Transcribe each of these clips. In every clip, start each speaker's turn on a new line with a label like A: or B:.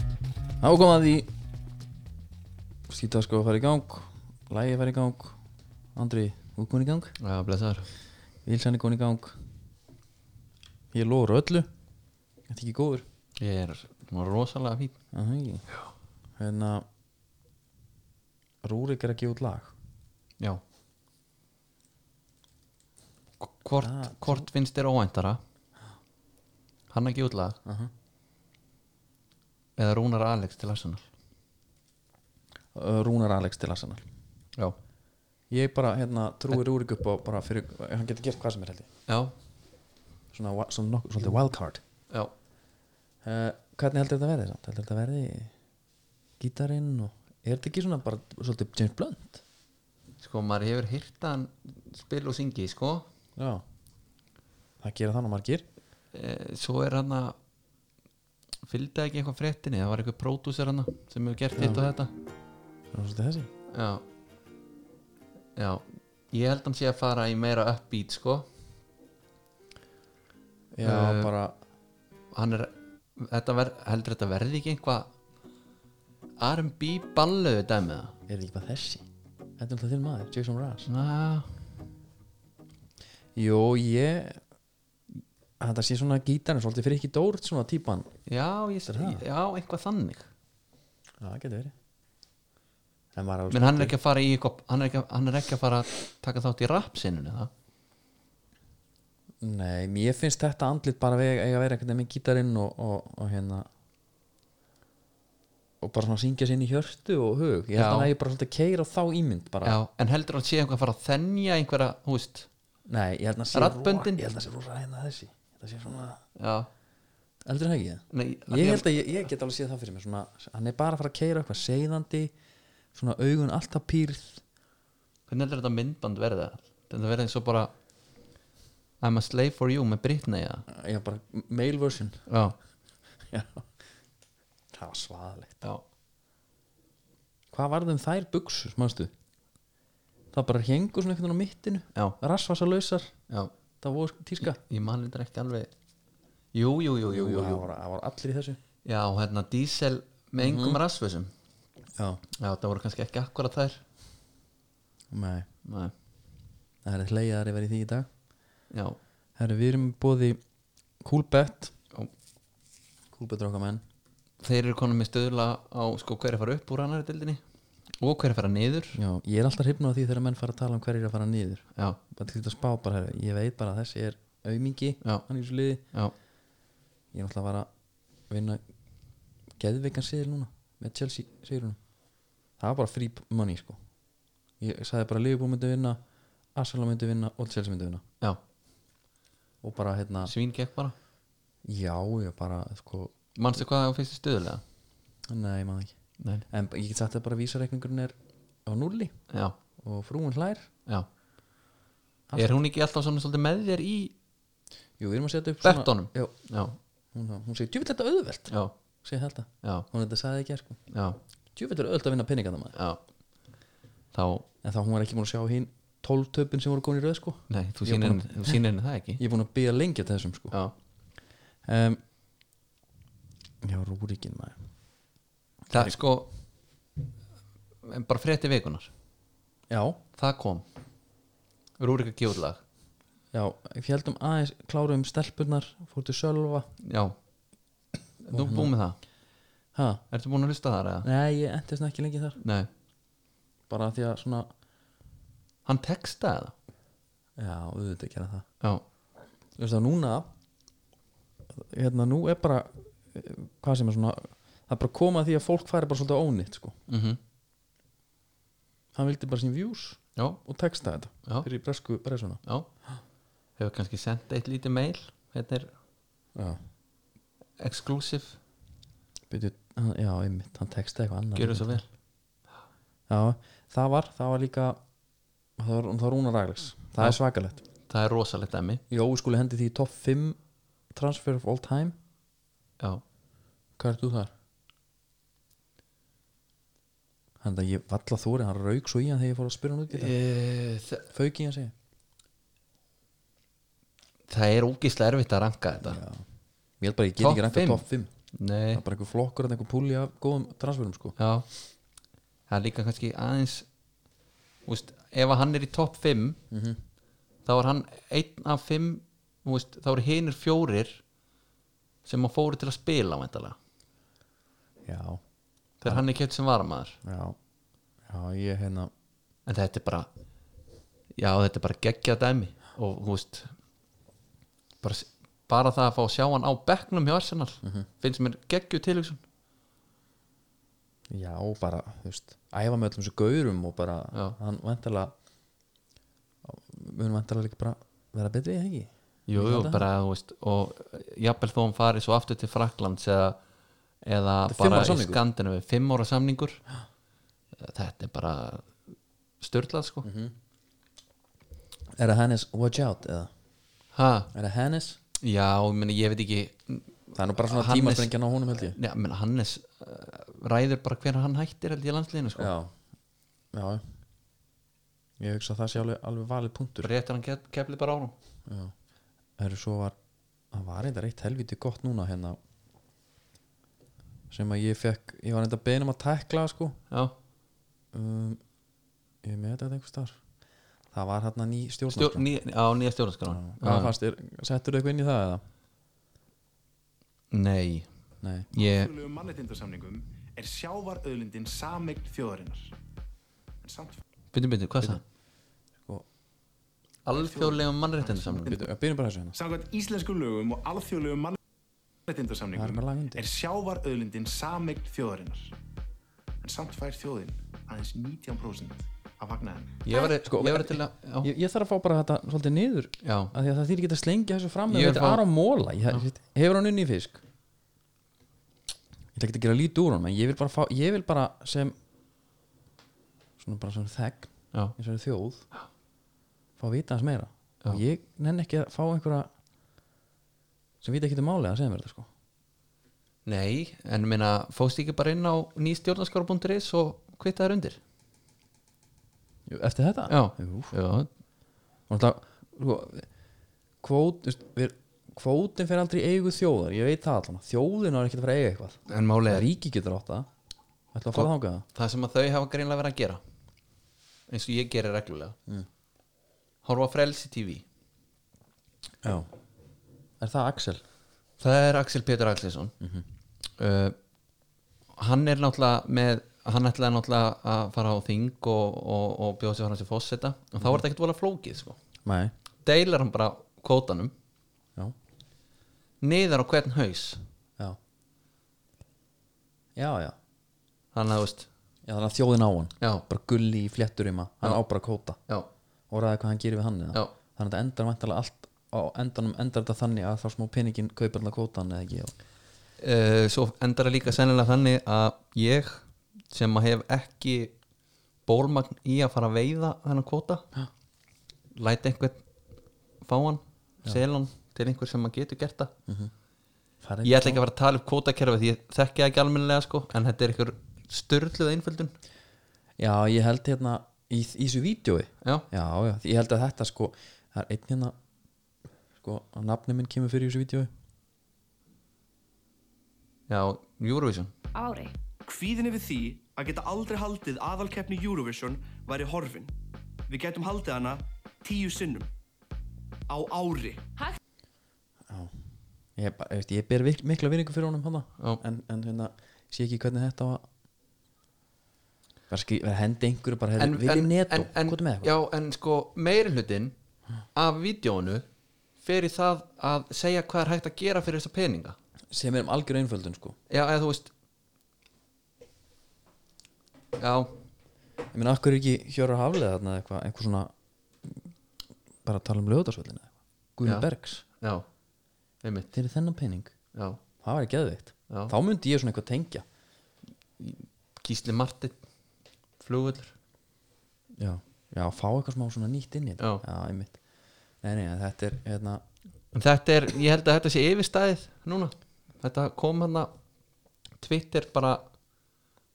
A: þá kom að því Skítasko að fara í gang Lægi fara í gang Andri, þú komin í gang
B: Já, blessaður
A: Vilsan er komin í gang Ég lofur öllu Þetta er ekki góður
B: Ég er svona rosalega fín
A: Það er ekki Hérna Rúrik er að gefa út lag
B: Já K- Hvort,
A: Ah,
B: hvort finnst þér óvæntara Hanna Gjúla
A: uh -huh.
B: eða Rúnar Alex til Arsenal
A: Uh, Rúnar Alex til Arsenal
B: Já
A: Ég bara hérna trúi Rúrik upp á bara fyrir Hann getur gert hvað sem er held ég
B: Já,
A: Svona, wa- svona nokkuð, svolítið wildcard
B: já
A: uh, Hvernig heldur þetta verði? samt? Heldur þetta verði gítarinn og Er þetta ekki svona bara svolítið James Blunt?
B: Sko, maður hefur hýrt hann spil og syngi, sko
A: Já Það gera það nú margir
B: Eh, Svo er hann að fylgda ekki eitthvað fréttinni það var eitthvað pródúsir hann sem hefur gert hitt og þetta
A: Það er svolítið þessi
B: Já Já, ég held hann sé að fara í meira uppbeat, sko
A: Já,
B: Eh,
A: bara
B: hann er þetta ver, heldur þetta verði ekki einhvað R&B balluðu dæmið það
A: Er þetta ekki bara þessi? Þetta er alltaf þinn maður, Jason Ross
B: svona
A: Jó, ég Þetta sé svona gítarinn svolítið fyrir ekki dórt svona típan
B: já, ég,
A: Þetta er það.
B: já, eitthvað þannig
A: Já, það getur verið En maður á
B: menn hann er ekki að fara í eitthvað hann er ekki, að- hann er ekki að fara að taka þátt í rapsinunni það
A: Nei, mér finnst þetta andlit bara veg, eiga að vera einhvern veginn með gítarinn og, og, og hérna og bara svona syngja sér inn í hjörtu og hug ég held
B: Já.
A: að það er bara svolítið keira þá ímynd bara.
B: já, en heldur hann sé eitthvað að fara að þennja einhverja, hú veist
A: Nei, ég held að sé rosa-
B: Raddböndin?
A: ég held að sé rosa hérna þessi þetta sé svona,
B: já,
A: eldur en ekki það
B: nei,
A: ég held að ég, ég get alveg séð það fyrir mér svona, hann er bara að fara að keira eitthvað seiðandi svona augun alltaf pýrð
B: hvernig heldur þetta myndband verða þetta verði eins og bara I'm a slave for you með Britney eða?
A: já, bara male version
B: já,
A: já. það var svaðalegt
B: já,
A: hvað varðum þær buksur, manstu það bara hengur svona einhvern veginn á mittinu
B: já,
A: rassvasalausar,
B: já
A: það voru sko tíska
B: ég man þetta ekki alveg jú, jú, jú, jú, jú, jú.
A: Það, voru, það voru allir í þessu
B: Já, hérna dísel með engum mm. rassvössum
A: já,
B: Já, það voru kannski ekki akkurat þær
A: nei,
B: Nei.
A: það er hleyjaðar yfir í því í dag
B: Já,
A: Herru, við erum bóði Coolbet
B: Já.
A: Coolbet er okkar menn
B: þeir eru konum með stöðla á sko hverja fara upp úr annari dildinni og hverja fara niður
A: já, ég er alltaf hrifnum af því þegar menn fara að tala um hverjir eru að fara niður
B: Já,
A: bara til þetta spá bara, herru, ég veit bara að þessi er aumingi,
B: Já.
A: hann er í svo liði
B: já,
A: ég er alltaf að fara að vinna geðveikan siðil núna með Chelsea sigurunum það var bara free money sko ég sagði bara Liverpool myndi vinna Arsenal myndi vinna og Chelsea myndi vinna
B: já,
A: og bara hérna,
B: svín gekk bara
A: já ég bara sko,
B: Manstu hvað á fyrstu stöðlega?
A: nei maður ekki
B: Nei
A: en ég get sagt að bara vísareikningurinn er á nulli
B: Já,
A: og frúin hlær
B: já Er hún ekki alltaf svona svolítið með þér í
A: jú, við erum að setja upp
B: Bettunum?
A: já,
B: Já,
A: hún, hún segir, djúvill þetta er auðvelt
B: já,
A: segir þetta,
B: já,
A: hún þetta sagði ekki sko.
B: já,
A: djúvill er auðvelt að vinna penninga það maður
B: já Þá,
A: en þá hún var ekki múin að sjá hinn 12 töpin sem voru góðin í röð sko.
B: nei,
A: Ég er
B: þú sýnir henni þú sýnir henni það ekki
A: ég er búin að byggja lengi eftir þessum sko.
B: Já,
A: um, já, rúrikinn maður
B: það er sko en bara frétti vikunar
A: já,
B: það kom Rúrik að gefa út lag
A: já, fjöldum um aðeins kláruðum stelpurnar, fór til Sölva
B: já, þú búið með það
A: ha,
B: ertu búin að hlusta þar eða?
A: nei, ég endist ekki lengi þar
B: nei,
A: bara því að svona,
B: hann textaði
A: já, auðvitað gera það
B: það já,
A: þú veist að núna hérna, nú er bara eh, hvað sem er svona það er bara komað því að fólk færi bara svolítið á ónýtt sko.
B: mm
A: hann vildi bara sín views
B: já,
A: og texta þetta
B: Já.
A: fyrir bresku bresuna
B: já hefur kannski sendt eitt lítið mail þetta er
A: já,
B: exclusive,
A: Byrju, hann, já, einmitt, hann texta eitthvað annað
B: gjöru svo vel
A: Já, það var, það var líka það var, það var Rúnar Alex það
B: Já.
A: er svakalegt
B: það er rosalegt dæmi
A: Jó, við skulum hendi því í topp 5 transfer of all time
B: já,
A: Hvað er þú þar? Þannig að ég valla þóri, hann rauk svo í hann þegar ég fór að spyrja hann út í þetta
B: e, það,
A: Fauk í hann segja
B: það er ógislega erfitt að ranka þetta
A: Já. Ég held bara að ég get
B: Topp
A: ekki rænt að
B: fimm?
A: topp 5
B: Nei,
A: það er bara einhver flokkur einhver púli af góðum transferum sko
B: já Það er líka kannski aðeins úst, Ef að hann er í topp 5
A: Mhm.
B: þá er hann einn af 5 úst, þá eru hinir fjórir sem að fóru til að spila væntalega,
A: já,
B: þegar hann er kjöld sem varamaður
A: já, já ég hérna
B: en þetta er bara já þetta er bara geggjað dæmi og þú veist bara, bara það að fá að sjá hann á bekknum hjá Arsenal finnst mér geggju tilhugsun
A: já, bara, þú veist, æfa með öllum þessu gaurum og bara,
B: Já.
A: hann vantarlega mun vantarlega líka bara vera betri, eða ekki?
B: jú,
A: Ég
B: jú,
A: held að-
B: bara þú veist og jafnvel þó hann farið svo aftur til Fraklands eða, eða
A: Þetta er fimm
B: bara
A: ára
B: í
A: samningur.
B: skandinu fimm ára samningur þetta er bara störtlað sko
A: Mhm. Er það hennis watch out, eða?
B: ha,
A: Er það hennis?
B: já, ég meni, ég veit ekki
A: Það er nú bara svona
B: Hannes-
A: tímasprengjan á honum held ég
B: Já, menn, Hannes uh, ræður bara hvernig hann hættir held ég í landsliðinu sko.
A: Já, já Ég hugsa að það sé alveg, alveg valið punktur
B: réttur hann ke- keflið bara á hann
A: Já Það eru svo var Það var eitthvað eitt helviti gott núna hérna sem að ég fekk Ég var eitthvað beðin um að tækla sko
B: já,
A: um, Ég er með þetta einhvers þar Það var hérna ný stjórnarskrá
B: Stjórn, ný, á nýja stjórnarskráin
A: Hvað fannst þér? Settur eitthvað inn í það eða?
B: Nei
A: Nei
B: ég,
C: alþjóðlegum mannréttindasamningum er sjávarauðlindin sameign þjóðarinnar. En samt
B: byrju, byrju, hvað það?
A: sko,
B: Alþjóðlegum mannréttindarsamning
A: byrjum byrjum bara þessu hérna
C: samkvæmt íslenskum lögum og alþjóðlegum
A: Það er bara lag
C: mannréttindasamningum
A: undir.
C: er sjávarauðlindin sameign þjóðarinnar. En samt fær þjóðin aðeins 19% af hagnaðinni.
B: Ég var,
A: Sko,
B: ég var til að Já,
A: ég, ég þarf að fá bara þetta svolítið niður
B: já.
A: að því að það þýr ekki að slengja þessu fram
B: Ég
A: ég
B: er
A: þetta
B: fá-
A: er Aron Móla ég, ég, hefur hann unni í fisk ég ætla ekki að gera lítið úr hann en ég vil bara, fá, ég vil bara sem svona bara sem þegn
B: já.
A: eins og þjóð fá að vita hans meira og ég nenn ekki að fá einhverja sem vita ekki til máli að segja mér þetta sko
B: Nei, en minna fóst ekki bara inn á nýjastjórnarskára.is og kvittaður undir
A: Jú, eftir þetta
B: Já,
A: Jú,
B: já,
A: og náttúrulega, sko, kvót, þú veist, við, kvótin fer aldrei í eigu þjóðar, ég veit það allan þjóðin er ekkert að fara að eiga eitthvað
B: en málega er
A: ríki getur átt það ætla að fara þangað
B: það sem að þau hafa greinlega verið að gera eins og ég gerir reglulega Horfa á Frelsi TV
A: Já Er það Axel?
B: Það er Axel Pétur Axelsson uh, Hann er náttúrulega með, hann ætlaði náttúrulega að fara á þing og, og, og bjóða sér hann sér fósetta og þá var þetta ekkert vola flókið sko.
A: Nei
B: deilar hann bara kvótanum
A: Já
B: niður á hvern haus
A: Já Já, já
B: þannig að þú veist
A: Já, þannig að þjóðin á hann
B: já,
A: Bara gulli í flétturima Hann á bara kóta
B: já,
A: Og ræði hvað hann gerir við hann eða
B: já,
A: Þannig að þetta endar væntalega allt Á endanum endar þetta þannig að þá smá peningin kaupir hann að kótan eða ekki og...
B: Uh, svo endar það líka sennilega þannig að ég sem að hef ekki bólmagn í að fara að veiða þennan kvóta
A: Já.
B: læti einhvern fáan, selan til einhver sem að getur gert það
A: Það er
B: Ég ætla ekki að fara að tala upp kvótakerfi því ég þekki það ekki almennilega sko en þetta er einhver störluð einföldun
A: Já, ég held hérna Í, í þessu vídjói
B: Já,
A: Já, já, því ég held að þetta sko Það er einn hérna Sko, að nafni minn kemur fyrir í þessu vídjói
B: já, Eurovision
D: á ári.
E: Kvíðin yfir því að geta aldrei haldið aðalkeppni Eurovision væri horfin. Við getum haldið hana tíu sinnum. Á ári.
A: ég, bara- ég, veist, ég ber vik- mikla virðingu fyrir honum hana,
B: Já.
A: en, en hérna, sé ekki hvernig þetta var bara skri, vera að hendi einhverju bara hefði viljum netó,
B: en,
A: hvað er með eitthvað
B: Já, en sko meiri hlutin af vídjónu fer í það að segja hvað er hægt að gera fyrir þessa peninga
A: sem er um algjör einföldun sko
B: Já, eða þú veist Já,
A: ég meina, akkur er ekki Hjörur Haflið þarna eða eitthvað, eitthvað svona bara að tala um lögðarsvöldin eða eitthvað
B: Já.
A: Guðjón Bergs,
B: já, einmitt
A: þeir eru þennan pening
B: já.
A: það væri geðveikt,
B: Já.
A: þá myndi ég svona eitthvað tengja
B: Gísli Martin Flugvöllur
A: já, já, fá eitthvað smá svona nýtt inn í þetta
B: Já.
A: já einmitt, nei, nei, en þetta er hérna,
B: En þetta er, ég held að þetta sé yfirstæðið núna Þetta kom hann að Twitter bara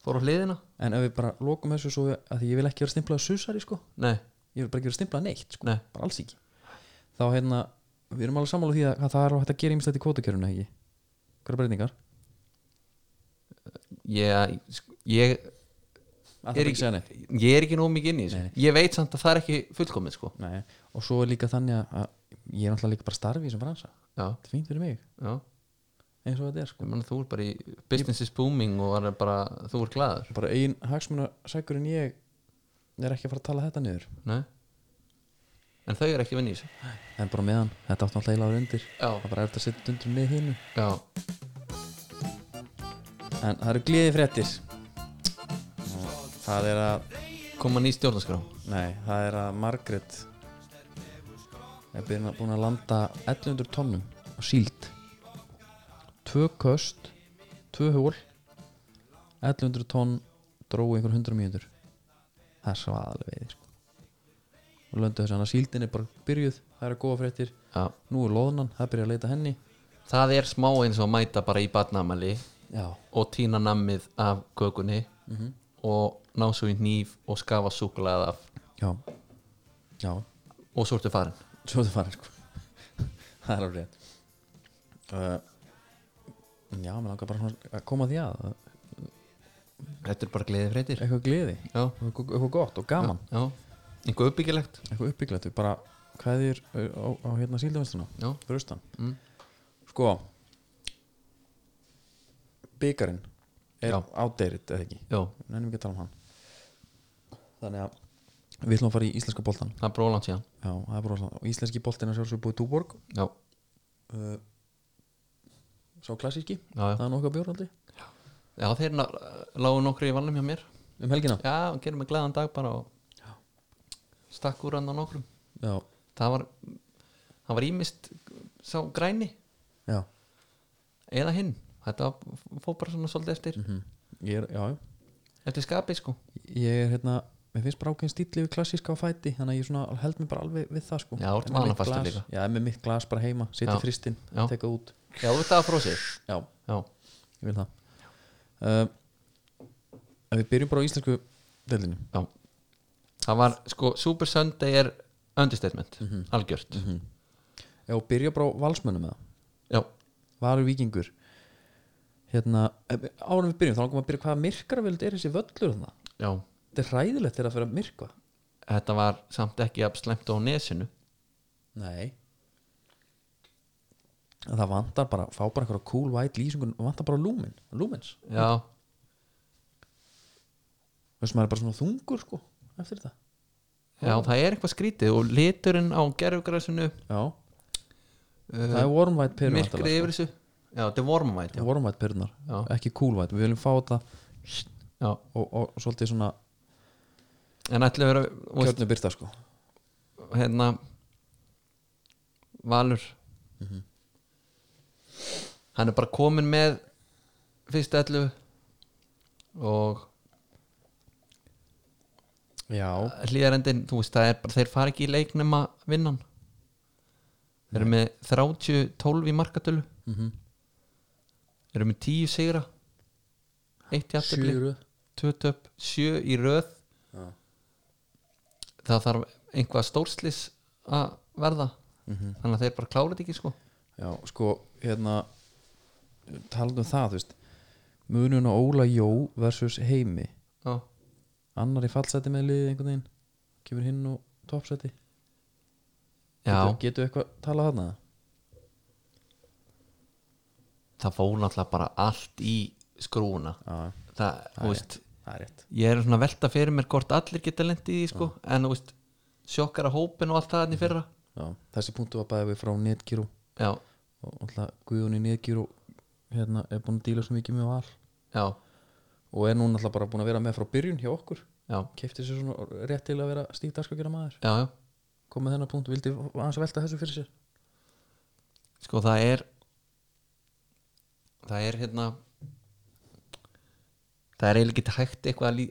B: fór á hliðina
A: en ef við bara lokum þessu svo, að því ég vil ekki vera stimplað susari sko
B: Nei,
A: ég vil bara ekki vera stimplað neitt sko.
B: nei,
A: bara alls ekki þá hérna, við erum alveg sammála því að að það er hægt að gera ímislegt í kvotakjörinu ekki, hverja breytingar
B: ég, ég,
A: Alltaf
B: er
A: ekki að segja neitt
B: ekki, ég er ekki nóg mikið inn í
A: Nei,
B: þessu ég veit samt að það er ekki fullkomið sko.
A: Nei, og svo er líka þannig að- að ég er náttúrulega líka bara starfi í þessum bransa
B: já,
A: þetta er fínt fyrir mig,
B: já
A: eins og þetta er sko.
B: Ég meina, þú er bara í business is booming og er bara, þú er glaður
A: bara ein hagsmunarsækur en ég er ekki að fara að tala þetta niður
B: Nei? en þau er ekki að vinna í þessu
A: en bara meðan, þetta átti alltaf eilaður undir
B: Já.
A: það er bara er þetta að setja undir með hinu
B: já,
A: en það eru gleði fréttir og það er að
B: koma ný stjórnarskrá
A: nei, það er að Margrét er byrjun að- búin að landa 1100 tonnum á síld tvö köst tvö hól 1100 tonn drói einhver 100 mínútur það er svaðalega veið sko. og löndu þess að síldin er bara byrjuð það er að góða fréttir
B: já.
A: nú er loðnan, það byrja að leita henni
B: það er smá eins og að mæta bara í barnamæli
A: já,
B: og týna nammið af kökunni og ná svo í nýf og skafa súkulað af
A: já, já
B: og svo ertu farin
A: svo það farið sko það er alveg rétt uh, já, mér langar bara svona að koma að því að
B: þetta er bara gleðið freytir
A: eitthvað gleði,
B: já,
A: eitthvað eitthvað gott og gaman
B: já, einhver uppbyggilegt
A: eitthvað uppbygglegt, við bara kveðir uh, á, á hérna síldavinsluna
B: já,
A: fyrir austan
B: Mm.
A: sko byggarinn er
B: Já.
A: outdated eða ekki,
B: já,
A: nefnum ekki að tala um hann þannig að við ætlum að fara í íslenska boltan
B: það er bróland síðan
A: já, það er bara rosalega. og íslenski boltin er sjálfsögur búið túborg
B: já,
A: uh, sá klassíski
B: já, já,
A: það er nokkuð bjóraldi
B: já þeir ná- lágu nokkri í valnum hjá mér
A: um helgina
B: já, gerum við gleðan dag bara og stakk úr hann á nokkrum
A: já,
B: það var, það var ímist sá græni
A: já,
B: eða hinn þetta fór bara svona svolítið eftir
A: mhm. ég er, já, já.
B: eftir skapi sko
A: ég er hérna mér finnst bara ákveðin stíli við klassíska á fæti þannig að ég svona held mér bara alveg við það sko
B: Já, þú ert
A: En með mitt
B: vanafastur
A: glas-
B: líka.
A: já, en með mitt glas bara heima, setja
B: Já.
A: fristinn
B: Já.
A: teka út,
B: já, þú veit það að frósið
A: já,
B: já,
A: ég vil það uh, ef við byrjum bara á íslensku delinu
B: já það var sko, Super Sunday er understatement, algjört
A: já, og byrja bara á valsmönnum með það
B: já,
A: Valur Víkingur hérna, árum við byrjum þá langum við að byrja hvaða myrkravild er þessi völlur þarna
B: já,
A: þetta er hræðilegt þegar það fyrir að myrkva
B: þetta var samt ekki að slemta á nesinu
A: Nei En Það vantar bara, fá bara eitthvað cool white lýsingun og vantar bara lúmin, lúmins
B: já,
A: þess að maður er bara svona þungur sko eftir þetta
B: já, það er eitthvað skrítið og liturinn á gerfgræsunu
A: Já, það er warm white pyrrnar
B: myrkrið yfir þessu já, þetta er vormavæt sko. já.
A: Warm white pyrrnar,
B: Já.
A: ekki cool white Við viljum fá þetta
B: já,
A: og, og svolítið svona
B: en ætla að vera þú veist,
A: kjörnu byrta sko
B: hérna Valur hann er bara komin með fyrst ellu og
A: Já,
B: hlýðarendin, þú veist það er bara þeir fara ekki í leik nema vinnan þeir eru með 30-12 í markatölu mm
A: Mhm.
B: eru með 10 sigra eitt jafntöfli,
A: sjöru
B: 2 töp 7 í röð það þarf einhvað stórslis að verða þannig að þeir bara klára þetta ekki sko
A: Já, sko, hérna talandi um það, þú veist munun á Óla Jó versus Heimi
B: já,
A: annar í fallseti með liðið einhvern veginn kemur hinn og toppseti
B: já.
A: getur, getur eitthvað talað þarna
B: það fór náttúrulega bara allt í skrúna
A: Já,
B: það, þú veist,
A: það er rétt
B: ég er svona að velta fyrir mér hvort allir geta lent í því sko, en þú veist sjokkara hópin og allt
A: Mhm.
B: það hann í fyrra
A: Já, þessi punktu var bæðið við frá Netgyro
B: já,
A: og alltaf Guðun í Netgyro hérna, er búin að díla svo mikið með val
B: já,
A: og er núna alltaf bara búin að vera með frá byrjun hjá okkur
B: já,
A: kefti sér svona rétt til að vera stíkt dagskakera maður
B: já, já
A: kom með þennan punkt, vildi aðeins velta þessu fyrir sér
B: sko það er það er hérna það er eiginlega ekki hægt eitthvað að lí,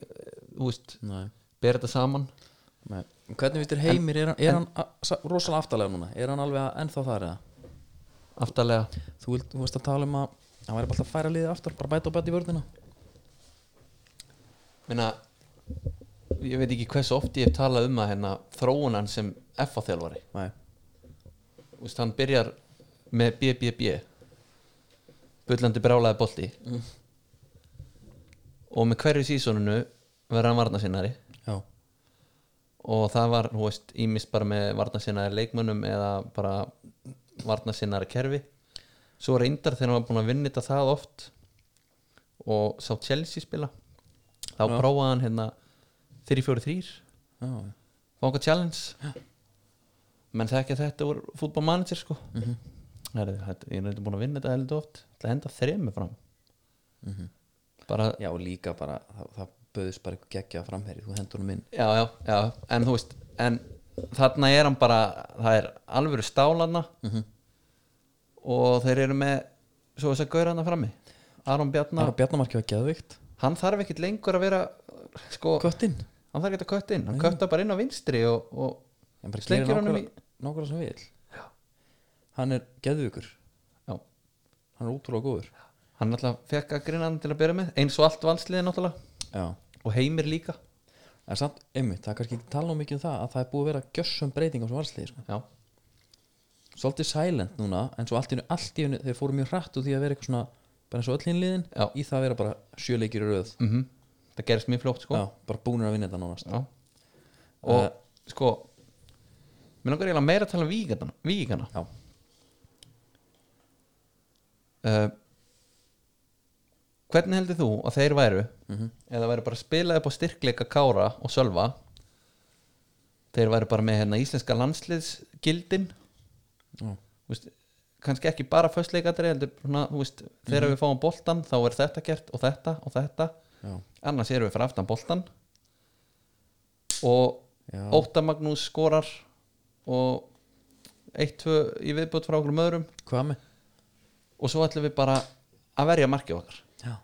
B: þú veist,
A: Nei,
B: bera þetta saman
A: Nei. Hvernig veist þér heimir, er hann, er hann a, sa, rosalega aftalega núna, er hann alveg að ennþá þar eða?
B: aftarlega,
A: Þú, vilt, þú veist að tala um að hann væri bara alltaf að færa liðið aftar, bara bæta og bæta í vörðina
B: minna ég veit ekki hversu oft ég hef talað um að hérna þróunan sem F-þjálfari
A: Nei,
B: Úst, hann byrjar með BBB bullandi brálaði bolti og með hverju sísoninu verður hann varnasinnari
A: já,
B: og það var, þú veist, ímist bara með varnasinnari leikmönnum eða bara varnasinnari kerfi svo reyndar þegar hann var búin að vinna þetta það oft og sá Chelsea spila þá
A: Já.
B: prófaði hann hérna 3-4-3
A: já,
B: Fanga Challenge menn þekkja þetta úr fútbol manager sko mm -hmm. Heru, þetta, ég er reyndur búin að vinna þetta heldur oft ætla að henda þremi fram bara,
A: já og líka bara það, það böðist bara eitthvað geggja framherri þú hendur honum inn
B: já, já, já en þú veist, en þarna er hann bara það er alvöru stálanna og þeir eru með svo þess að gaura hana frammi Aron Bjarnar,
A: Aron Bjarnamarki var geðveikt
B: hann þarf ekkit lengur að vera sko,
A: Köttinn
B: hann þarf ekkit að kött inn hann köttar bara inn á vinstri og, og
A: En bara
B: Slengir
A: gerir
B: honum í-
A: nákvæmlega- nákvæmlega sem við já. Hann er geðveikur
B: já,
A: Hann er útrúlega góður
B: hann alltaf fekk að grina hann til að byrja með eins og allt valsliði náttúrulega
A: Já
B: og heimir líka
A: En samt, einmitt, það er kannski ekki tala um mikið um það að það er búið að vera gjössum breyting á svo valslið sko.
B: já,
A: Svolítið silent núna, en svo allt í hennu, allt í hennu þeir fóru mjög hratt úr því að vera eitthvað svona bara eins og öll hinliðin,
B: Já.
A: í það að vera bara sjöleikir í röð,
B: mm það gerist mjög fljótt sko
A: Mhm. já, bara búnir að vinna þetta nánast
B: Já. og
A: Eh.
B: sko mér langar eiginlega meira að tala um víkana, víkana.
A: Já,
B: Uh, hvernig heldur þú að þeir væru
A: Mhm.
B: eða væru bara að spila upp á styrkleika Kára og Sölva þeir væru bara með hérna, íslenska landsliðsgildin
A: já,
B: Þú veist, kannski ekki bara föstleikadri heldur, svona, þú veist, þegar
A: Mhm.
B: við fáum boltan þá er þetta gert og þetta og þetta
A: já,
B: annars erum við fyrir aftan boltan og
A: já,
B: Ótta Magnús skorar og 1-2 í viðbútt frá okkur möðrum
A: hvað með?
B: og svo ætlum við bara að verja markið okkar
A: Já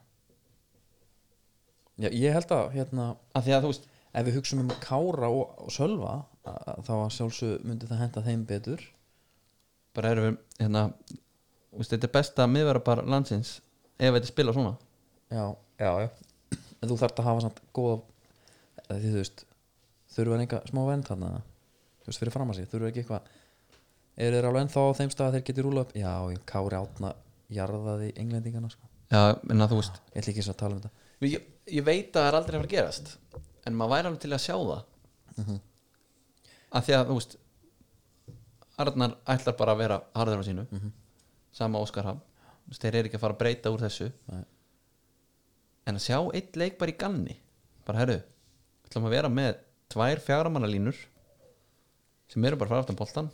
A: Já, ég held að, hérna,
B: af því að þú veist,
A: ef við hugsum um Kára og, og Sölva að- að þá að sjálfsög myndi það henda þeim betur
B: bara erum við hérna, þú veist, þetta er besta miðverðarpar landsins ef þetta spila svona
A: Já, já, já En þú þarft að hafa samt góða eða því þú veist, þurfa einhver smá vend þarna, þú veist, fyrir fram að sig þurfa ekki eitthvað, eru þeir alveg ennþá á þeim stað að þeir geti rúla upp, já, ég Kári átna jarðaði englendingana, sko
B: já, en að þú veist
A: ég ætla ekki eins og að tala um þetta
B: ég, ég veit að það er aldrei að fara að gerast en maður væri alveg til að sjá það af því að þú veist Arnar ætlar bara að vera harður á sínu sama Óskar Hafn Þú veist, þeir eru ekki að fara að breyta úr þessu
A: Nei.
B: en að sjá eitt leik bara í ganni bara herru, við ætlum að vera með tvær fjáramannalínur sem eru bara fara aftan boltan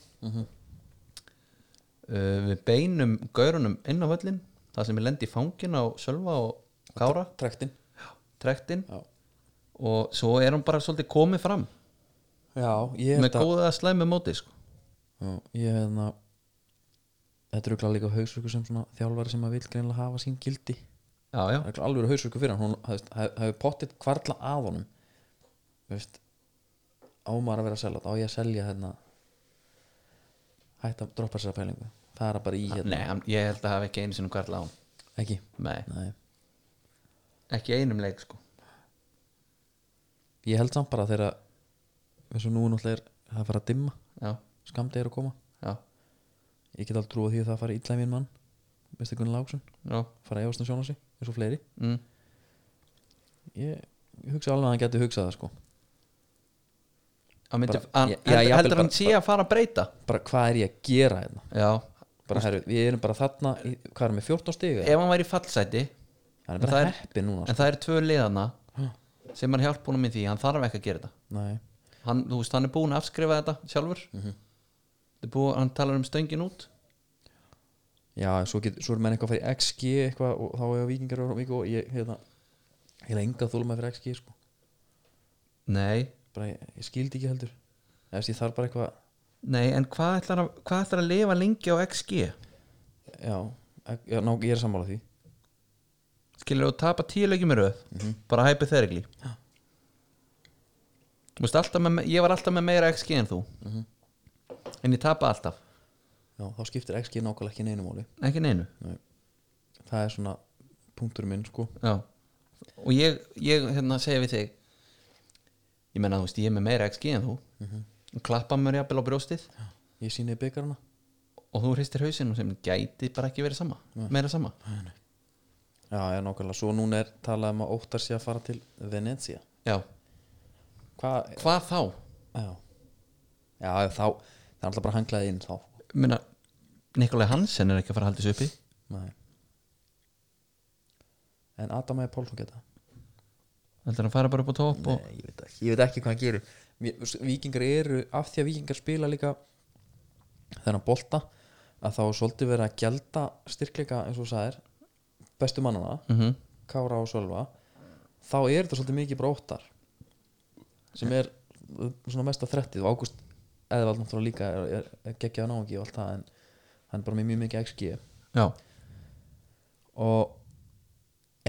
B: uh, við beinum gaurunum inn á völlin það sem er lendi í fangin á Sölva og Kára
A: Trektin,
B: trektinn
A: Já.
B: og svo er hann bara svolítið komið fram
A: já, ég
B: með
A: held að
B: góða slæmi móti sko.
A: já, ég held að þetta er auðvitað líka hausverku sem svona þjálfari sem að vil greinlega hafa sín gildi
B: já, já,
A: það er alveg hausverku fyrir hann hún hefði hef, hef pottitt kvarla að honum Þú veist ámar að vera að selja þetta, á ég að selja hérna hætt að droppa sér að pælingu fara bara í hérna,
B: nei, hann- ég held að hafa ekki einu sinni hvert lán
A: ekki
B: nei,
A: Nei.
B: ekki einum leik sko.
A: ég held samt bara þegar að- eins og nú náttúrulega er það að fara að dimma
B: já,
A: skamdi er að koma
B: já,
A: ég get aldrei trúið því að það fari illa í minn mann Mr. Gunnar Láksson,
B: já
A: fara að efast um sjóna sig eins og fleiri
B: mm.
A: ég, ég hugsa alveg að hann geti hugsað það sko
B: Hann myndi,
A: Bara-
B: hann,
A: Já,
B: held,
A: já,
B: heldur
A: jafnvel
B: hann
A: bara-
B: sé að fara að breyta
A: bara hvað er ég að gera hérna
B: já,
A: bara, herru, við erum bara þarna, í, hvað erum við 14 stig eða?
B: ef hann væri í fallsæti
A: hann
B: en
A: er bara
B: það er-
A: heppin núna sko.
B: en það eru tvö liðana sem hann hjálp honum í því, hann þarf ekki að gera þetta
A: Nei,
B: hann, þú veist, hann er búin að afskrifa þetta sjálfur mm
A: Mhm.
B: búin, hann talar um stöngin út
A: já, en svo, get, svo er menn eitthvað að fara í XG eitthvað og þá er vikingar og mikið og ég hérna, ég er enga þólum að fyrir XG sko.
B: nei,
A: bara ég, ég skildi ekki heldur eða þess ég þarf bara eitthvað,
B: nei, en hvað ætlar, að, hvað ætlar að lifa lengi á XG?
A: já, ek- já ná, ég er sammála því
B: skilur þú tapa tíu leikjum í röð bara hypothetically þú veist alltaf með ég var alltaf með meira XG en þú en ég tapa alltaf
A: já, þá skiptir XG nákvæmlega ekki neinu máli
B: ekki neinu
A: það er svona punktur minn sko
B: já. og ég, ég hérna segi við þig ég menna þú veist ég er með meira XG en þú klappa mér jafnvel á brjóstið
A: ég sýni byggarna
B: og þú hristir hausinn og sem gæti bara ekki verið sama meira sama
A: Já, já, nákvæmlega, svo núna er talað um að óttar sé að fara til Venezia
B: já,
A: Hvað,
B: hvað þá?
A: já Já, þá, það er alltaf bara hanglaði inn þá
B: Minna, Nikolai Hansen er ekki að fara að halda þessu uppi
A: Nei En Adam eða Pálsson geta
B: heldur hann fara bara upp á topp og...
A: Nei, ég veit ekki, ég veit ekki hvað hann gerir Mér- þú veist, Víkingar eru, af því að víkingar spila líka þennan bolta að þá er svolítið verið að gjalda styrkleika eins og þú sagðir bestu mannana,
B: Mhm.
A: Kára og Sölva þá er þetta svolítið mikið bróttar sem er uh, svona mesta þrettið og Ágúst eðvald náttúrulega líka er, er geggjaða náungi og allt það en hann er bara með mjög mikið XG
B: já,
A: og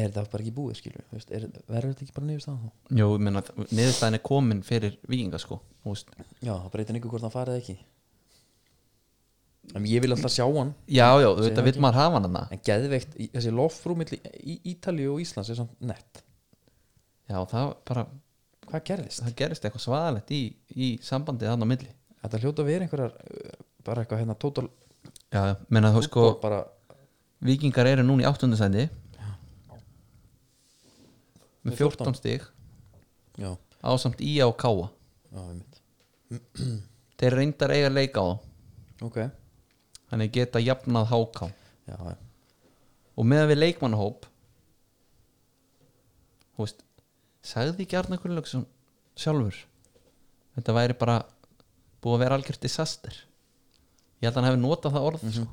A: er það bara ekki búið skilur, veist, er, verður þetta ekki bara nýfist þá?
B: jú, ég meina, niðurstaðin er komin fyrir vikinga sko Þú veist.
A: Já, það breytir ykkur hvort hann farið ekki en ég vil alltaf sjá hann
B: já, já, þetta vil maður hafa hann þarna.
A: en geðveikt, í- þessi lofrú milli í Ítalíu og Íslands er samt nett
B: já, það bara,
A: hvað gerðist?
B: það gerist eitthvað svaðalegt í, í sambandið hann á milli
A: Þetta hljóta að vera einhverjar uh, bara eitthvað hérna total
B: já, já, menna þú sko
A: football bara,
B: vikingar eru núna í áttundasændi með
A: Með 14.
B: 14 stig
A: já,
B: ásamt IA og Káa
A: já, einmitt
B: þeir reyndar eiga leika á þá.
A: ok, já,
B: þannig geta jafnað háká
A: já,
B: og meðan við leikmannahóp þú veist sagði ekki Arna Gunnlaugsson sjálfur þetta væri bara búið að vera algjört disaster ég held að hann hefði notað það
A: Mhm.
B: orð sko.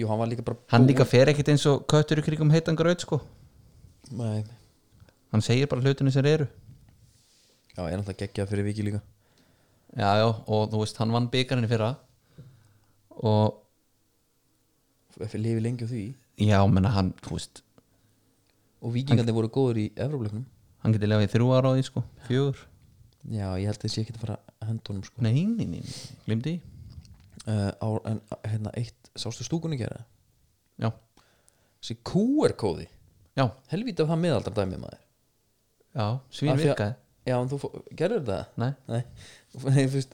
A: jú, hann var líka bara
B: hann líka fer ekkit eins og köttur í krigum heitan gröð sko.
A: nei,
B: hann segir bara hlutinu sem eru
A: já, er alltaf geggjað fyrir viki líka
B: já, já, og þú veist, hann vann byggarinn í fyrra og
A: F- lifi lengi á því
B: já, menna hann, þú veist
A: og vikingandi voru góður í Evróplöknum
B: hann getur lefað í þrjú ára á því, sko, fjögur
A: já, ég held að þessi ekki að fara að henda honum sko.
B: nei, nei, nei, nei, glimti
A: uh, á, en hérna eitt, sástu stúkunni gera
B: já,
A: þessi QR kóði
B: já,
A: helvítið af það miðaldra dæmið maður
B: já, svín
A: Af því að-
B: virkaði
A: já, en þú fó- gerður það?
B: Nei.
A: nei, nei þú veist,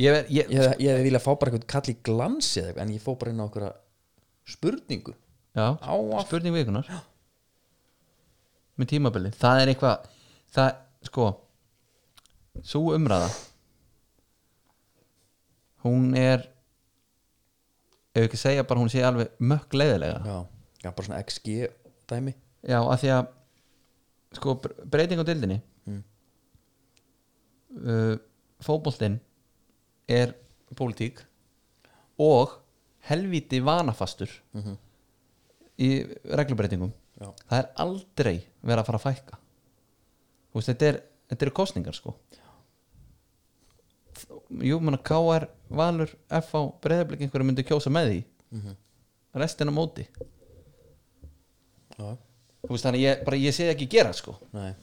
B: ég, ver, ég,
A: ég, ég hefði vilja fá bara eitthvað kall í glansi eða eitthvað en ég fó bara inn á einhverja spurningu
B: já,
A: Á að-
B: spurning vikunar með tímabili það er eitthvað, það, sko svo umræða hún er ef ekki segja bara hún sé alveg mökk leiðilega
A: já, já bara svona XG dæmi
B: Já, af því að sko, bre- breyting á dildinni
A: Mm.
B: uh, fótboltinn er pólitík og helvíti vanafastur í reglubreitingum
A: Mhm. Já.
B: það er aldrei verið að fara að fækka Þú veist, þetta, er, þetta eru kostningar sko Jú, manna KR, Valur, FH, Breiðablik einhverju myndu kjósa með því
A: Mhm.
B: restin á móti
A: já,
B: Þú veist, þannig ég, bara ég sé það ekki gera sko
A: nei,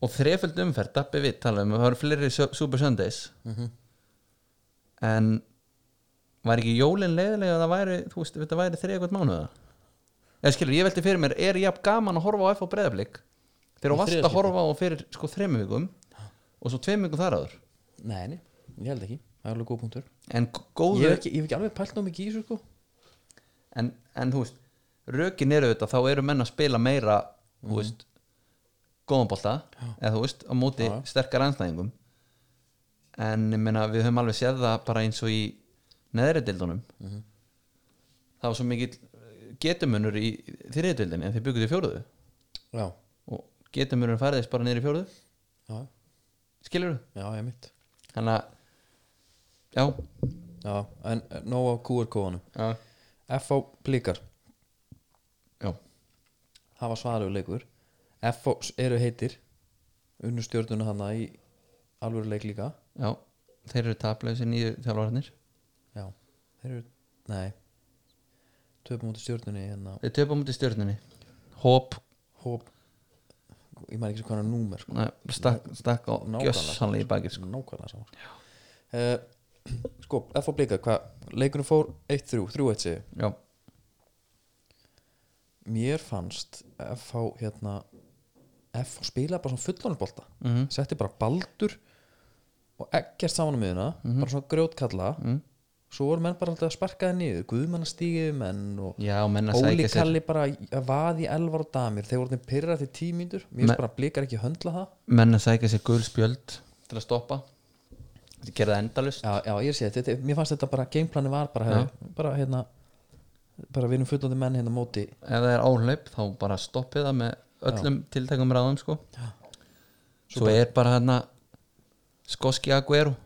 B: og þreföld umferð, Dabbi við tala um það eru fleiri su- Super Sundays
A: Mhm.
B: en var ekki jólin leiðilega að það væri, þú veist, þetta væri þrið eitthvað mánuða eða skilur, ég velti fyrir mér er jafn gaman að horfa á F á breyðablík þegar
A: Í
B: þú varst
A: þriðja
B: að horfa á fyrir sko þremmu vikum og svo tveim vikum þar áður
A: nei, nei, ég held ekki það er alveg góð punktur
B: en g-
A: ég hef
B: góður,
A: ekki, ég hef ekki alveg pælt ná mikið í þessu sko
B: en, en þú veist rökin eru þetta, þá eru menn að spila meira þú veist góðanbólta, eða þú veist á móti
A: Já, já.
B: sterkar anstæðingum en ég meina við höfum alveg séð það bara eins og í neðri dildunum það var svo mikill eh, getumunur í þriði dildinni en þeir bygguðu í fjóruðu
A: já,
B: og getumunur færðist bara niður í fjóruðu
A: já,
B: skilur þú?
A: já, ég mitt
B: Þannig að já,
A: já, en eh, nóg á QR kóðanum
B: já,
A: FH Blikar
B: já.
A: hafa svarugur leikur FH eru heitir unnu stjórnuna hana í alvöru leik líka
B: já. þeir eru taplega sér nýju þjálfararnir
A: Já, þeir eru, nei Töpum út í stjórnunni hérna
B: við töpum út í stjörnunni hóp,
A: Hóp, ég maður ekki sem hvaðan númer sko.
B: na, stakk, stakk á
A: Nákvæmlega.
B: gjössanlega í bakið sko.
A: Nákvæmlega sá sko. Uh, sko, F.O. Blika, hvað leikunum fór 1-3, 3-1 segi
B: já,
A: Mér fannst F.H. hérna F.H. spila bara svona fullonarbolta
B: mm
A: Setti bara baldur og ekkert saman um miðuna bara svona grjótkalla
B: Mm.
A: svo voru menn bara alltaf að sparka það niður guðmannastígi menn og
B: Já, menn að
A: Óli
B: sækja sér
A: kalli bara að vaði elvar og damir þeir voru þeim pyrrað til tímyndur mér
B: Men-
A: finnst bara að blikar ekki höndla það
B: menn að sækja sér gul spjöld til að stoppa þetta gera það endalust
A: já, já ég sé þetta, þetta, mér fannst þetta bara gameplanin var bara, hefði, bara hérna bara við erum fullandi menn hérna á móti
B: ef það er áhlaup þá bara stoppið það með öllum tiltækum ráðum sko svo, er bara hérna skoski Aguero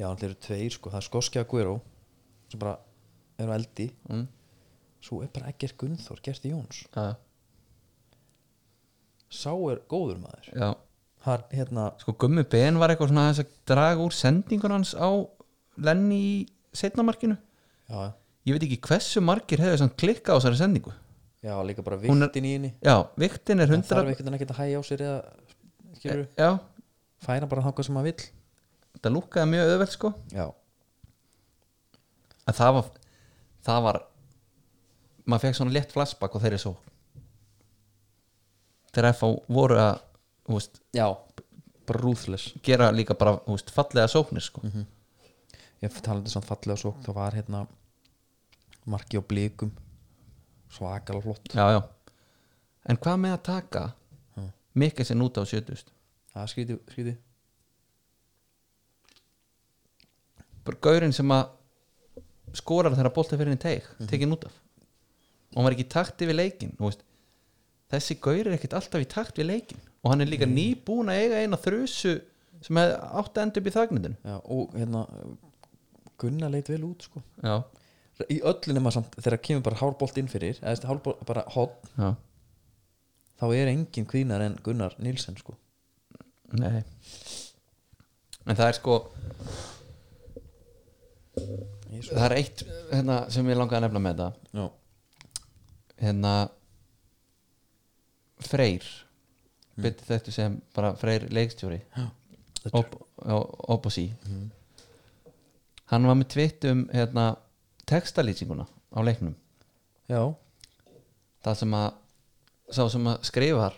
A: já, allir eru tveir sko, það er Skoski Aguero sem bara eru á eldi
B: mm.
A: svo er bara Egger Gunnþór, Gerti Jóns
B: já,
A: sá er góður maður
B: já.
A: hann hérna,
B: sko Gummi Ben var eitthvað svona aðeins að draga úr sendingun hans á Lenny í setnamarkinu
A: já,
B: ég veit ekki hversu margir hefur samt klikkað á þessari sendingu
A: já líka bara
B: Hún er-
A: viktin í henni
B: já, viktin er
A: það þarf
B: 100
A: ekkert ekki að hæja á sér eða skilur,
B: já, Eh.
A: færa bara þangað sem maður vill
B: þetta lúkkaði mjög öðveld sko
A: já,
B: að það var það var maður fekk svona létt flashback og þeirri svo þegar F.A. voru að þú veist,
A: já, bara ruthless
B: gera líka bara þú veist, fallega sóknir sko.
A: ég talaði samt fallega svo þá var hérna marki á blikum svakalega flott
B: já, já. en hvað með að taka mikil sinn út á 70
A: það er skrítið, skrítið
B: bara gaurinn sem að skorar þegar bolti fyrir hinn teik tekin út af og hann var ekki í takt yfir leikin veist, þessi gaur er ekkert alltaf í takt við leikin og hann er líka nýbúin að eiga eina þrusu sem hefði átt að enda upp í þagnindinu
A: já, og hérna Gunnar leit vel út sko
B: já,
A: í öllu nema samt þegar kemur bara hárbolt inn fyrir eða þessi hárbolt bara hot
B: já
A: þá er engin kvínar en Gunnar Nilsen sko
B: Nei En það er sko
A: Jesús.
B: Það er eitt hérna, sem ég langaði að nefna með þetta
A: já,
B: hérna Freyr mm. byrði þetta sem bara Freyr leikstjóri Op, Opposí Hann var með tvitt um hérna, textalýsinguna á leiknum
A: já,
B: það sem að sá sem að skrifar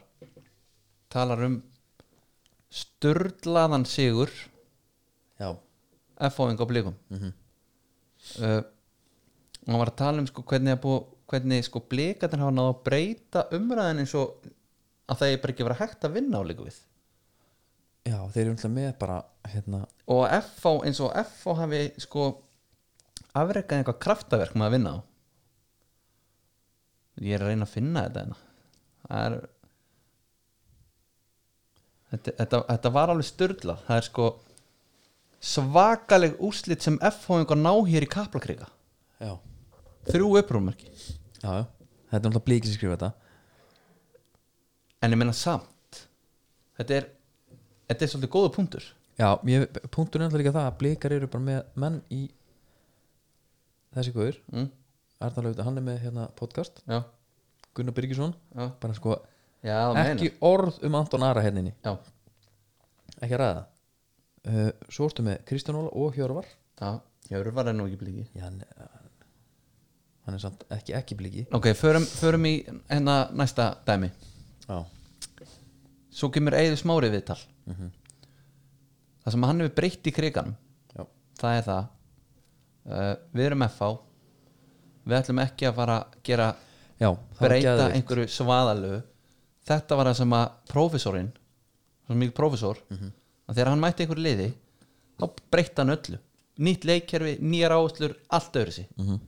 B: talar um sturdlaðan sigur
A: já.
B: F-fóðing á blikum mm uh, og hann var að tala um sko, hvernig, að bú, hvernig sko, blikarnir hafa náð að breyta umræðin eins og að það er bara ekki verið hægt að vinna á líku við
A: já þeir eru umtla með bara hérna,
B: og F eins og F hafi sko afrekað eitthvað kraftaverk með að vinna á ég er að reyna að finna þetta hérna. það er þetta, þetta, þetta var alveg styrla það er sko svakaleg úslit sem F hafa ná hér í kaplakriga
A: já,
B: þrjú upprúmarki
A: já, já þetta er umtla blikið sem skrifa þetta
B: en ég meina samt þetta er, þetta er svolítið góða punktur
A: já, ég, punktur er umtla líka það að blikar eru bara með menn í þessi guður
B: mm,
A: Arnar Lauta, hann er með hérna podcast
B: já,
A: Gunnar Byrgisson,
B: já,
A: bara sko
B: já það
A: ekki orð um Anton Ara henninni
B: já,
A: ekki að ræða uh, svo ertu með Kristján Óla og Hjörvar
B: já, Hjörvar er nú ekki blíki
A: Já, hann, hann er samt ekki ekki bliki
B: ok, förum, förum í hérna næsta dæmi
A: já,
B: svo kemur Eiður Smári viðtal það sem hann hefur breytt í kriganum
A: já,
B: það er það uh, við erum FH við ætlum ekki að fara að gera
A: já það var
B: breyta
A: geðveikt.
B: einhverju svaðalögu þetta var það sem að prófessorinn svo mikið prófessor
A: Mhm.
B: að þegar hann mætti einhverju liði þá breytti hann öllu nýtt leikkerfi, nýjar áherslur, allt öðru sig
A: Mhm.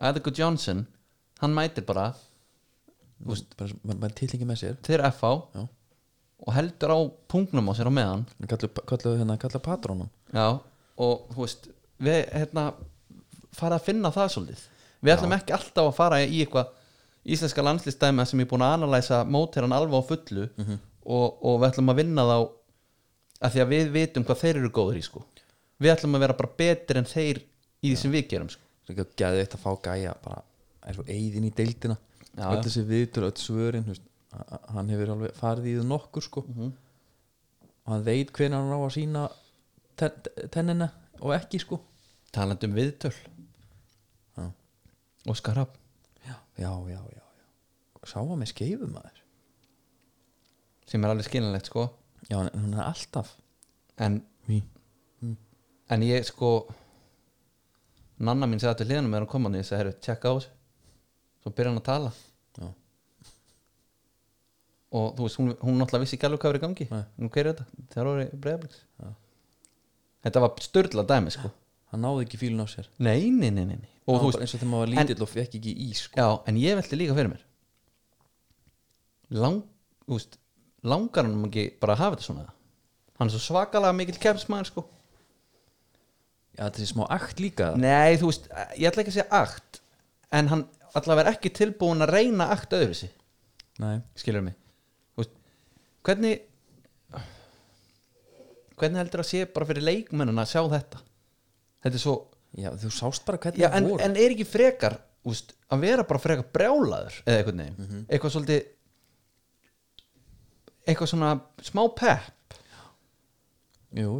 B: mm Johnson hann mætir bara
A: bara, mann man tiltingi með sér
B: til FH
A: Já.
B: og heldur á pungnum á sér á meðan
A: kallu, kallu, hérna, kallu patrónum
B: Já, og þú veist við hérna fara að finna það svolítið við ætlum ekki alltaf að fara í eitthvað íslenska landslistæmi sem ég er búin að analæsa móteran alveg á fullu og, og við ætlum að vinna þá af því að við vitum hvað þeir eru góður í sko við ætlum að vera bara betur en þeir í því sem við gerum sko
A: líka gæði eitt að fá gæja bara eins og eigðin í deildina
B: Já,
A: öll
B: já.
A: þessi viðtur, öll svörin þú veist, a- a- hann hefur alveg farið í það nokkur sko.
B: Mhm.
A: og hann veit hvernig hann á að sína ten, tennina og ekki sko.
B: talandi um viðtöl
A: Já.
B: og skarab
A: já, já, já, já, já. sá hann með skeifum aður
B: sem er alveg skilinlegt sko
A: já, hann, hann er alltaf
B: en
A: Ví.
B: en ég sko nanna mín segði til hliðanum með hann koma hann og ég segi, herru, tjekka á þessu svo byrja hann að tala
A: Já.
B: og þú veist, hún, hún náttúrulega vissi ekki alveg hvað er í gangi
A: Nei.
B: hún hver er þetta, þegar voru breyðabliks þetta var störla dæmi sko.
A: hann náði ekki fílun á sér
B: nei, nei, nei, nei, nei.
A: og
B: og þú
A: eins
B: veist,
A: og þegar maður var
B: en-
A: lítill og fekk ekki í sko.
B: já, en ég velti líka fyrir mér lang, þú veist langar hann ekki bara að hafa þetta svona hann er svo svakalega mikill kemsmaður sko
A: já, þetta er smá akt líka
B: Nei, þú veist, ég ætla ekki að segja akt En hann allavega er ekki tilbúin að reyna akt öðru sig
A: Nei.
B: Skilur mig Þú veist, Hvernig Hvernig heldur að sé bara fyrir leikmennina að sjá þetta Þetta er svo
A: já, þú sást bara hvernig
B: Já, en,
A: voru
B: en er ekki frekar úst, að vera bara frekar brjálaður eða eitthvað neginn, eitthvað svolítið eitthvað svona smá pepp
A: jú,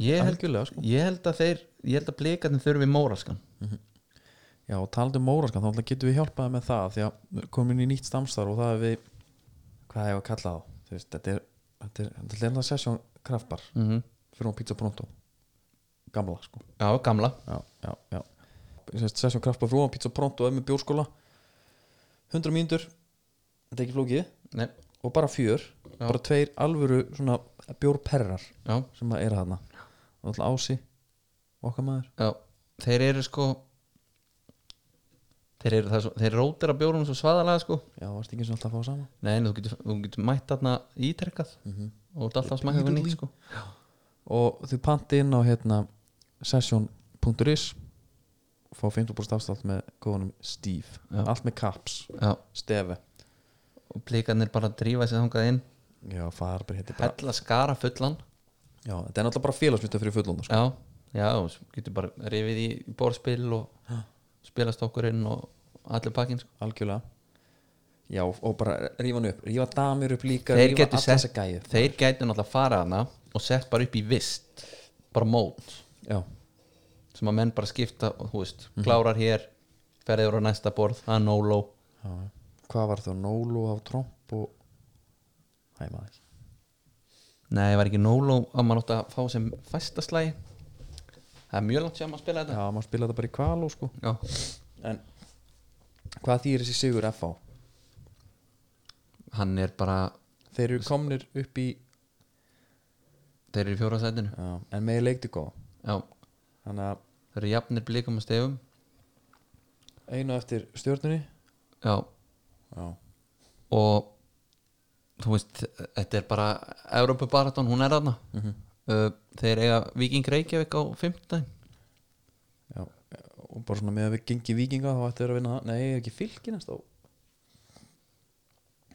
B: ég held,
A: algjörlega sko
B: ég held að þeir ég held að blikarnir þurfi móraskan
A: já, og talandi um móraskan, þá náttúrulega getum við hjálpaði með það því að komin í nýtt stamstar og það er við hvað hefur að kalla þá Þú veist, þetta er, þetta er, þetta er, þetta er sessjón kraftbar
B: mm
A: fyrir hún pizza pronto gamla sko
B: Já, gamla
A: já, já, já Sessjón kraftbar fyrir hún pizza pronto og er með bjórskóla 100 mínútur þetta er ekki flókið
B: Nei,
A: og bara fjör bara tveir alvöru svona bjórperrar
B: já
A: sem að eru þarna og alltaf ási okkar maður
B: Já, þeir eru sko Þeir eru það svo Þeir rótir að bjórunum svo svaðalega sko
A: já, varst ekki eins og alltaf að fá saman
B: Nei, en þú getur, þú getur mætt þarna ítrekkað Og þú ert alltaf að smaka eitthvað nýtt sko
A: og þau panti inn á hérna session.is og fá 50% afstátt með góðunum Steve
B: Já.
A: allt með caps,
B: Já,
A: stefi
B: og blíkarnir bara drífa sér þangað inn
A: já, farber heitir bara
B: Hella skara fullan
A: já, þetta er náttúrulega bara félagsmynda fyrir fullóna sko.
B: Já, já, og svo getur bara rifið í borðspil og spilast okkur inn og allir pakkin sko
A: algjörlega já, og bara rífa hann upp, rífa damir upp líka
B: Þeir
A: rífa
B: getur
A: alla
B: sett-
A: þessa gæju
B: Þeir gætu náttúrulega fara hana og sett bara upp í vist Bara mót
A: já,
B: sem að menn bara skipta og þú veist, klárar hér ferðið á næsta borð, það er no-lo
A: Já, já. hvað var það, Nólu á Tromp og hæ maður ekki
B: nei, það var ekki no-lo að maður átti að fá sem fæstaslægi það er mjög langt sem að spila
A: já,
B: þetta
A: maður spilaði þetta bara í kvaló sko
B: já.
A: en hvað þýr þessi sigur FH?
B: hann er bara,
A: þeir eru komnir upp í
B: þeir eru í fjóra sætinu
A: já, en með leikti góð
B: já,
A: þannig að
B: þeir eru jafnir blikum og stefum
A: einu á eftir stjórnunni
B: já,
A: já,
B: og þú veist, þetta er bara Európa Baraton, hún er þarna uh, þeir eiga Viking Reykjavík á 15
A: já og bara svona með að við gengi vikinga þá ætti þeir að vinna það, nei ekki fylki næst á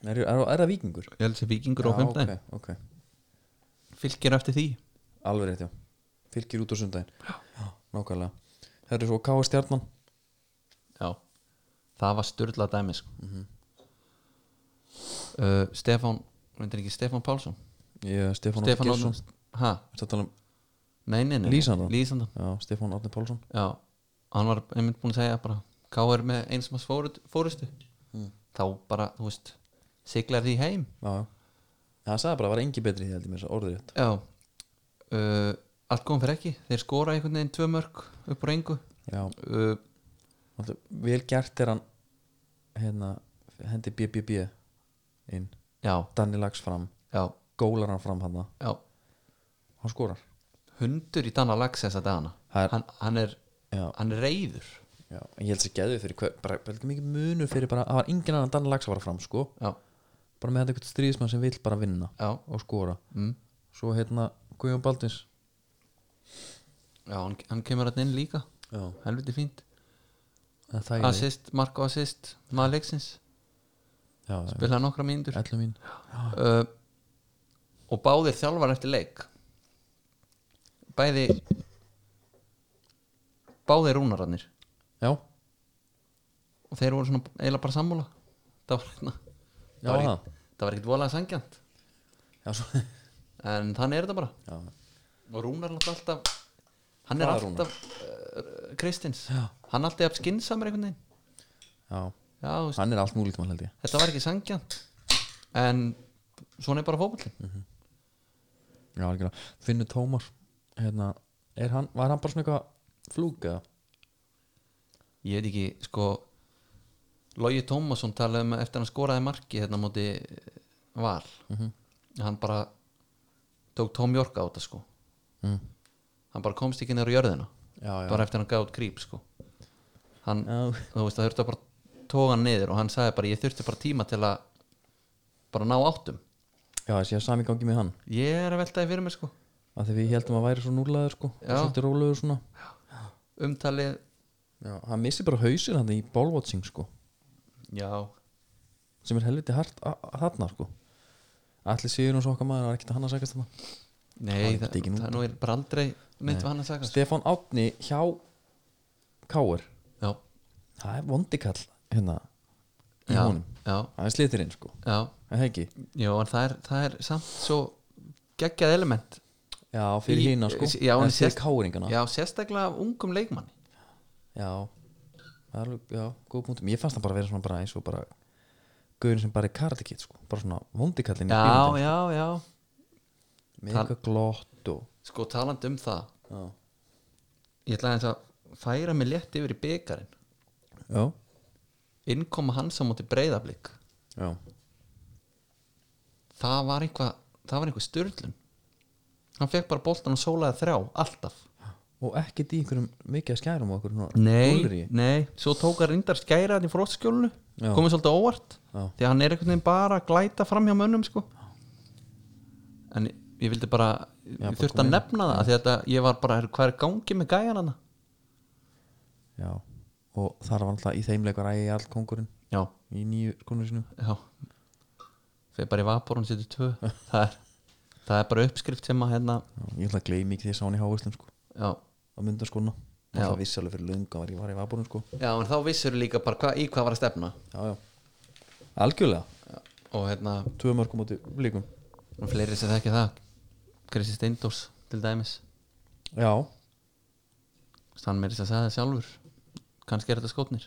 A: er, er, er það vikingur?
B: ég held sér Vikingur á
A: Já,
B: 15
A: ok, ok,
B: fylgir eftir því
A: alveg rétt já fylgir út á sundaginn já, nákvæmlega það eru svo K.A. stjarnan
B: Já, það var styrla dæmi sko. uh, Stefán veitir ekki Stefán Pálsson
A: ég, Stefán
B: Stefán
A: Árni Geirsson
B: Árnason Ha?
A: Ertu að tala um
B: Nei, nei, nei
A: Lýsandan?
B: Lýsandan,
A: Já, Stefán Árni Pálsson
B: já Hann var einmitt búin að segja bara K.R. með eins og maður fórustu Þá bara, þú veist Siglar því heim
A: Já, já Það sagði bara að það var engi betri í því held ég mér orðið rétt
B: Já uh, Allt kom fyrir ekki Þeir skora einhvern veginn tvö mörg upp á engu
A: Já,
B: uh,
A: alltaf, vel gert er hann hérna, hendi BBB inn,
B: Já,
A: Danni Lags fram
B: já,
A: gólar hann fram hann,
B: já
A: hann skorar
B: Hundur í Danna Lags þessa dagana
A: Það er-
B: hann, hann, er,
A: Já.
B: hann er reyður
A: Já, en ég held sér geðið fyrir hver, bara, bara mikið munur fyrir bara, það var engin annan Danni Lags var fram, sko,
B: Já,
A: bara með þetta eitthvað stríðismann sem vill bara vinna
B: já
A: og skora
B: mm.
A: Svo hérna Guðjón Baldins
B: Já, hann, hann kemur hann inn líka
A: Já,
B: Helviti fínt
A: það er þægileg.
B: Assist, mark og assist, maður leiksins
A: Já, já,
B: Spilaði nokkra mínútur
A: ellu mín
B: uh, Og báðir þjálfar eftir leik Bæði Báðir rúnarannir
A: Já,
B: Og þeir voru svona eiginlega bara sammála Það var hérna
A: Já,
B: það var
A: það.
B: ekkert- það var ekkert voðalega sangjant
A: já, svo
B: En þannig er þetta bara
A: Já,
B: Og Rúnar er náttúrulega alltaf Hann er
A: Hvaða Rúnar?
B: alltaf uh, Kristins Hann er alltaf skinnsamur einhvern veginn
A: já,
B: Já, þú veist,
A: hann er allt núlítum held ég
B: þetta var ekki sangjant en svona er bara fókvöldin
A: Mm. Já, algjörlega. Finnur Tómar hérna, er hann, var hann bara svona eitthvað flúka
B: ég veit ekki sko Logi Tómasson talaði um að eftir hann skoraði marki hérna á móti eh, val
A: Mhm.
B: hann bara tók Tom York á þetta sko
A: Mm.
B: hann bara komst ekki nefnir jörðina
A: já, já.
B: bara eftir hann gáði gríp sko hann,
A: Já.
B: þú veist það þurfti að bara tóga hann niður og hann sagði bara ég þurfti bara tíma til að bara ná áttum
A: já, þessi að sami gangi með hann
B: ég er að velta því fyrir mér sko
A: að því við heldum að væri svo núlaður sko og
B: Já.
A: svolítið rólegur svona
B: umtalið,
A: já, hann missi bara hausinn hann í ballwatching sko
B: já
A: sem er helviti hart að að þarna sko allir sigur hans okkar maður það er ekkert að hann að segja þetta
B: nei,
A: Það er
B: það,
A: ekki nú.
B: það, er nú er bara aldrei neitt hvað hann að sagast
A: Stefán Átni hjá Káur
B: já,
A: það er vondikall hérna í
B: já,
A: honum
B: já,
A: það er sliðtirinn sko
B: já
A: en það ekki
B: já, en það er, það er samt svo geggjað element
A: já fyrir
B: Í-
A: hína sko
B: s- já, en
A: Eða fyrir
B: sést-
A: káringana já.
B: já, sérstaklega af ungum leikmanni
A: það er alveg já góð punktum ég fannst það bara að vera svona bara eins og bara gaurin sem bara er kardikitt sko bara svona vondikallin í
B: já,
A: bíómyndum.
B: já, já
A: með eitthvað glott og
B: sko talandi um það
A: já
B: ég ætla aðeins að færa mig létt yfir í byggarinn
A: já,
B: innkoma hans á móti breyðablík
A: já.
B: það var einhvað það var einhver styrlun hann fekk bara boltan og sólaði þrjá, alltaf
A: og ekkert í einhverjum mikið að skærum og okkur
B: Nei, nei, svo tók að rindar skæra hann í frótskjólinu,
A: Já.
B: komið svolítið á óvart
A: Já.
B: því að hann er einhvern veginn bara að glæta fram hjá mönnum sko en ég vildi bara,
A: Já,
B: ég
A: bara
B: þurfti
A: koma
B: að
A: inn.
B: nefna það af því að þetta, ég var bara, "Herru, hvað er gangi með gæjan hann
A: já, og þar var alltaf í þeim leik var ægi all kongurinn
B: já,
A: í nýju skonur sinu
B: já þegar bara í vaporun setið tvö það er, það er bara uppskrift sem að hérna,
A: já, ég ætla að gleymi ekki því að ég sá hann í hávistum sko
B: já,
A: á myndaskona
B: Já.
A: það vissi alveg fyrir löngu að var ég var í vapunum sko
B: já en þá vissur líka bara hva, í hvað var að stefna
A: já, já. algjörlega,
B: og hérna,
A: tvö mörgum átti líkum
B: og fleiri sem þekki það Kristi Steindors til dæmis
A: já,
B: hann meiri þess að segja það sjálfur kannski er þetta skotnir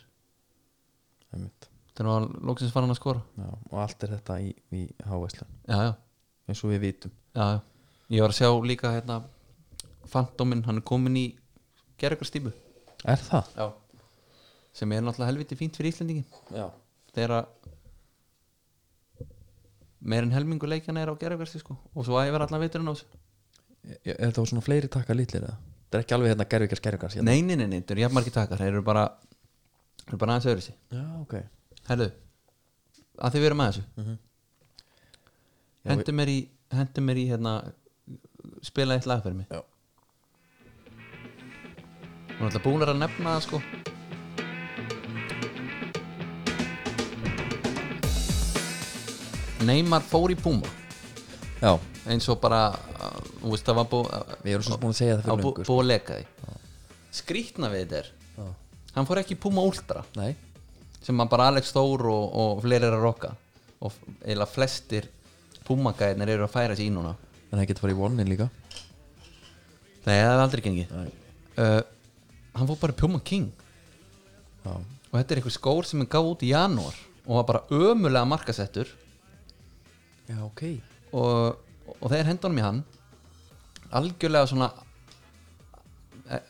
A: einmitt
B: þegar hann lóksins var hann að skora
A: já, og allt er þetta í, í hávistlun
B: já, já,
A: eins og við vitum
B: já, já ég var að sjá líka hérna Fantóminn, hann er komin í gerðugur stípu
A: er það?
B: já. sem er náttúrulega helviti fínt fyrir Íslendingin
A: já,
B: þegar að meir en helmingu leikjana er á gerðugur sko. og svo æfir allan veiturinn á þessu
A: ég, ég, þetta var e, svona fleiri takka litlir eða? þetta er ekki alveg hérna gerfikar skerfikar
B: nei, nei, nei, nei, þetta eru jafnmargi takar þeir eru bara, þeir eru bara aðeins öðru sig
A: já, ok
B: herðu, að þið verum að þessu
A: Mhm. Já,
B: hendur mér í hendur mér í hérna spila eitt lag fyrir mig
A: Já.
B: hún er alltaf búin að nefna það sko Neymar fór í Puma
A: já,
B: eins og bara uh, þú veist það var búið uh,
A: við erum svona búin að segja það fyrir löngu sko.
B: búið að leka því skrýtna við þetta er
A: Já.
B: hann fór ekki í Puma Ultra
A: nei,
B: sem að bara Alex Þór og, og fleiri er að rokka og f- eiginlega flestir púmagæðinir eru að færa sér í núna
A: en það getur farið í one-in líka
B: Nei, það hefði aldrei gengið
A: Nei.
B: uh, Hann fór bara í Puma King
A: já,
B: og þetta er einhver skór sem hann gaf út í janúar og var bara ömulega markasettur
A: já ok
B: og, og þeir hendunum í hann algjörlega svona eh,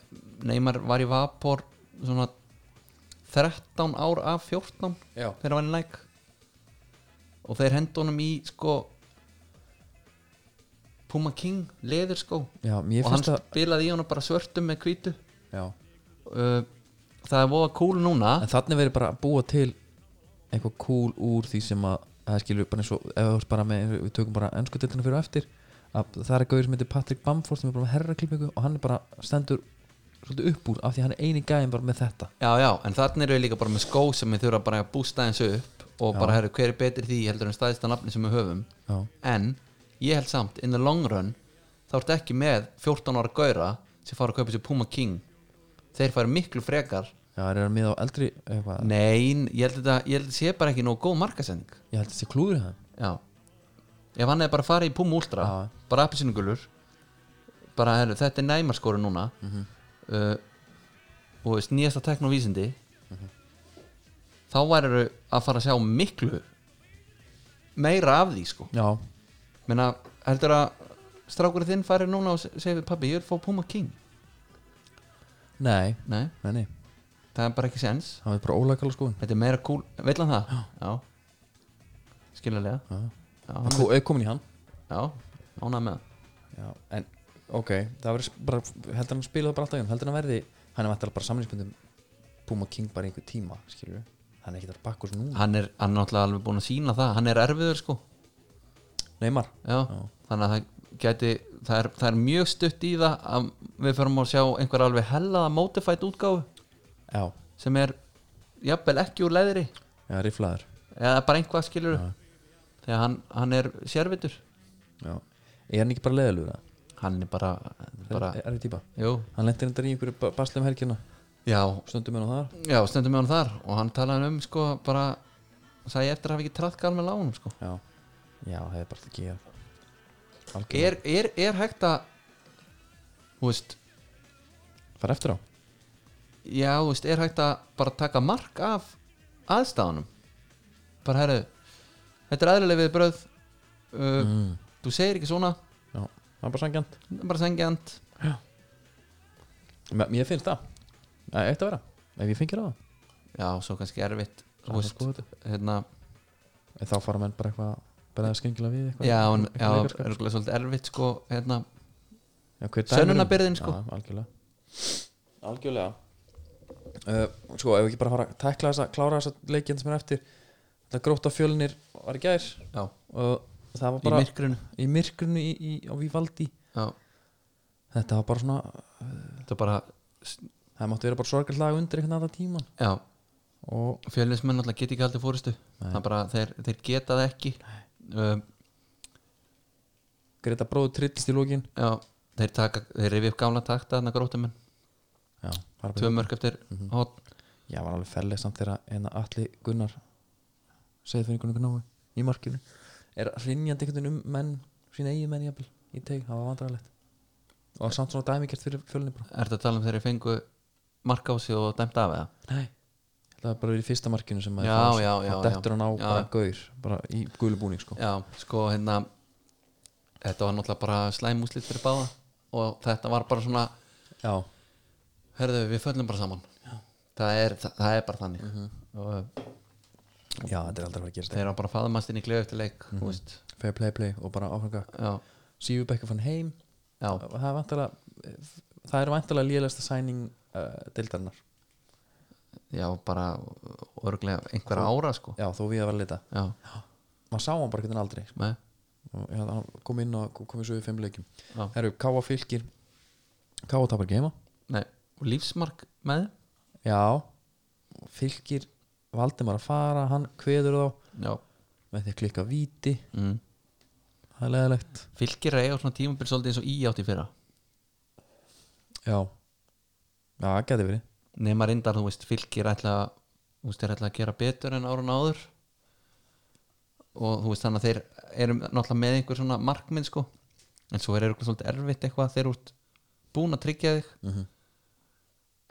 B: Neymar var í Vapor svona 13 ár af 14
A: Já.
B: þegar hann var í Nike og þeir hendunum í sko Puma King leðurskó
A: Já, mér
B: og hann
A: finnst að-
B: spilaði í hann bara svörtum með hvítu
A: já.
B: uh, það er voða cool núna
A: en þannig verið bara að búa til eitthvað cool úr því sem að það skilur bara eins og ef þú ert bara með, við tökum bara ennsku deltina fyrir og eftir að það er gauður sem heitir Patrick Bamford sem er bara með herraklippingu og hann er bara stendur svolítið upp úr af því að hann er eini gæðin bara með þetta
B: Já, já, en þarna eru við líka bara með skó sem við þurfa bara að bústa eins upp og bara, herru, hver er betri því heldur en staðista nafni sem við höfum
A: Já.
B: en ég held samt, in the long run þá ertu ekki með 14 ára gaura sem fara að kaupa sér Puma King þeir fara miklu frekar
A: já, það er með á eldri eitthvað
B: Nein, ég held þetta, ég held þetta sé bara ekki nóg góð markasending
A: ég held að þessi klúður það
B: Já Ef hann hefði bara farið í Puma Ultra
A: Já.
B: bara appisínugulur bara, herru, þetta er næmarskóri núna mm -hmm. uh, og veist, nýjasta tekn og vísindi Mhm. þá væru að fara að sjá miklu meira af því sko
A: já,
B: menna, heldur að strákurinn þinn farið núna og se- segir við pabbi, ég vil fá Puma King
A: Nei,
B: Nei,
A: nei, nei,
B: það er bara ekki sens
A: það er bara ólækala skoðun
B: Þetta er meira kúl, vill hann það? Já Skiljulega
A: Já.
B: Já,
A: Það
B: hann-
A: kom- er komin í hann
B: já ánað með það.
A: Já, en ok, það verður sp- bara, heldur hann spilaði bara alltaf í hann, heldur hann verði, hann er vantilega bara samlingsbundum Puma King bara í einhver tíma, skilur hann er ekki að bakka úr svo núna,
B: Hann er hann er náttúrulega alveg búin að sína það Hann er erfiður sko
A: Neymar
B: já. Þannig að það gæti það er, það er mjög stutt í það að við förum að sjá einhver alveg hellaða Motified útgáfu
A: Já,
B: sem er jafnvel ekki úr leðri
A: já, riflaður
B: eða bara einhvað skilur þegar hann, hann er sérvitur
A: Já, er hann ekki bara leðalur það?
B: hann er bara, bara
A: Er, er við típa?
B: jú,
A: Hann lendir endar í einhverju ba- basli um helgina
B: já,
A: stundum enn á þar
B: já, stundum með hann þar og hann talaði um sko bara sagði eftir að hafa ekki trafkað alveg lánum sko
A: Já, já, það er bara að gera það. Algjörlega,
B: er, er, er hægt að þú veist,
A: fara eftir á
B: já, þú veist, er hægt að bara taka mark af aðstæðanum bara herðu þetta er aðlilega við bröð uh,
A: mm.
B: þú segir ekki svona,
A: Já, það er bara sangjant
B: þetta er bara sengjant
A: M Mér finnst það, það eftir að vera ef ég fengir á það,
B: já, svo kannski erfitt þú
A: það er
B: veist,
A: sko þetta
B: hérna
A: En þá fara menn bara eitthvað bara að skengila við eitthvað
B: já, en, já,
A: eitthvað leikarskap.
B: örgulega svolítið erfitt sko, hérna,
A: Já, hver dæmir um-
B: sönnunarbyrðin, sko.
A: Já, algjörlega Algjörlega uh, Sko, ef við ekki bara fara að tækla þessa klára þessa leikinn sem er eftir þetta gróta fjölnir var í gær
B: já,
A: og það var
B: í
A: bara
B: myrkrinu
A: í myrkrunu í, í, á Vivaldi
B: já,
A: þetta var bara svona,
B: þetta er bara
A: það mátti vera bara sorgall lag undir einhvern aðra tíman
B: já,
A: og
B: fjölinnsmenn alltaf get ekki haldið fórustu það er bara, þeir, þeir geta það ekki um,
A: Greta bróðu trillist í lókin
B: já, þeir taka, þeir rifi upp gamla takta þannig að grótumenn,
A: Já, það var
B: tvö
A: bara-
B: mörg eftir mm hot,
A: Já, var alveg ferleg samt þegar hérna Atli Gunnar segið fyrir einhvern veginn í markinu er rinjandi einhvern veginn um menn sína eigin menn jafnvel í teg, það var vandrarlegt og samt svona dæmikert fyrir fjölni bara
B: er þetta að tala um þeir fengu mark á sig og dæmt af eða
A: Nei, það var bara verið í fyrsta markinu sem
B: Já,
A: fannst.
B: já, já,
A: og dettur hann á
B: já.
A: bara gaur bara í gulubúning sko
B: já, sko, hérna þetta var náttúrulega bara slæm úslit fyrir báða og þetta var bara svona
A: Já,
B: herðu, við föllum bara saman það er, það, það er bara þannig og
A: já þetta er aldrei að fara að gerast
B: þeir eru bara að faðmast inn í klefa eftir leik þú veist,
A: Fair play play og bara áfranga
B: já,
A: Sýðu Bekka fann heim
B: já,
A: það er vantalega það er vantalega lélegasta sæning uh, deildarinnar
B: já, bara örglega einhverja ára sko
A: Já, þó við að vera lita
B: já,
A: maður sá hann bara hvernig aldrei sko.
B: með,
A: og ja, hann kom inn og kom í sögu í fimm leikum
B: Já.
A: Herru, Káa fylgir Káa tapar ekki heima
B: nei, og lífsmark með þeim?
A: Já, fylgir Valdimar að fara, hann kveður þá
B: já,
A: með því að klikka víti
B: mm.
A: það er leðilegt
B: fylgir að eiga svona tímabil svolítið eins og í átt í fyrra
A: Já, já, það geti verið
B: nema reyndar, þú veist, fylgir ætla að- þú veist, þeir ætla að gera betur en árun áður og þú veist þannig að þeir eru náttúrulega með einhver svona markminn sko en svo er eitthvað svolítið erfitt eitthvað þeir eru út búin að tryggja þig mm -hmm.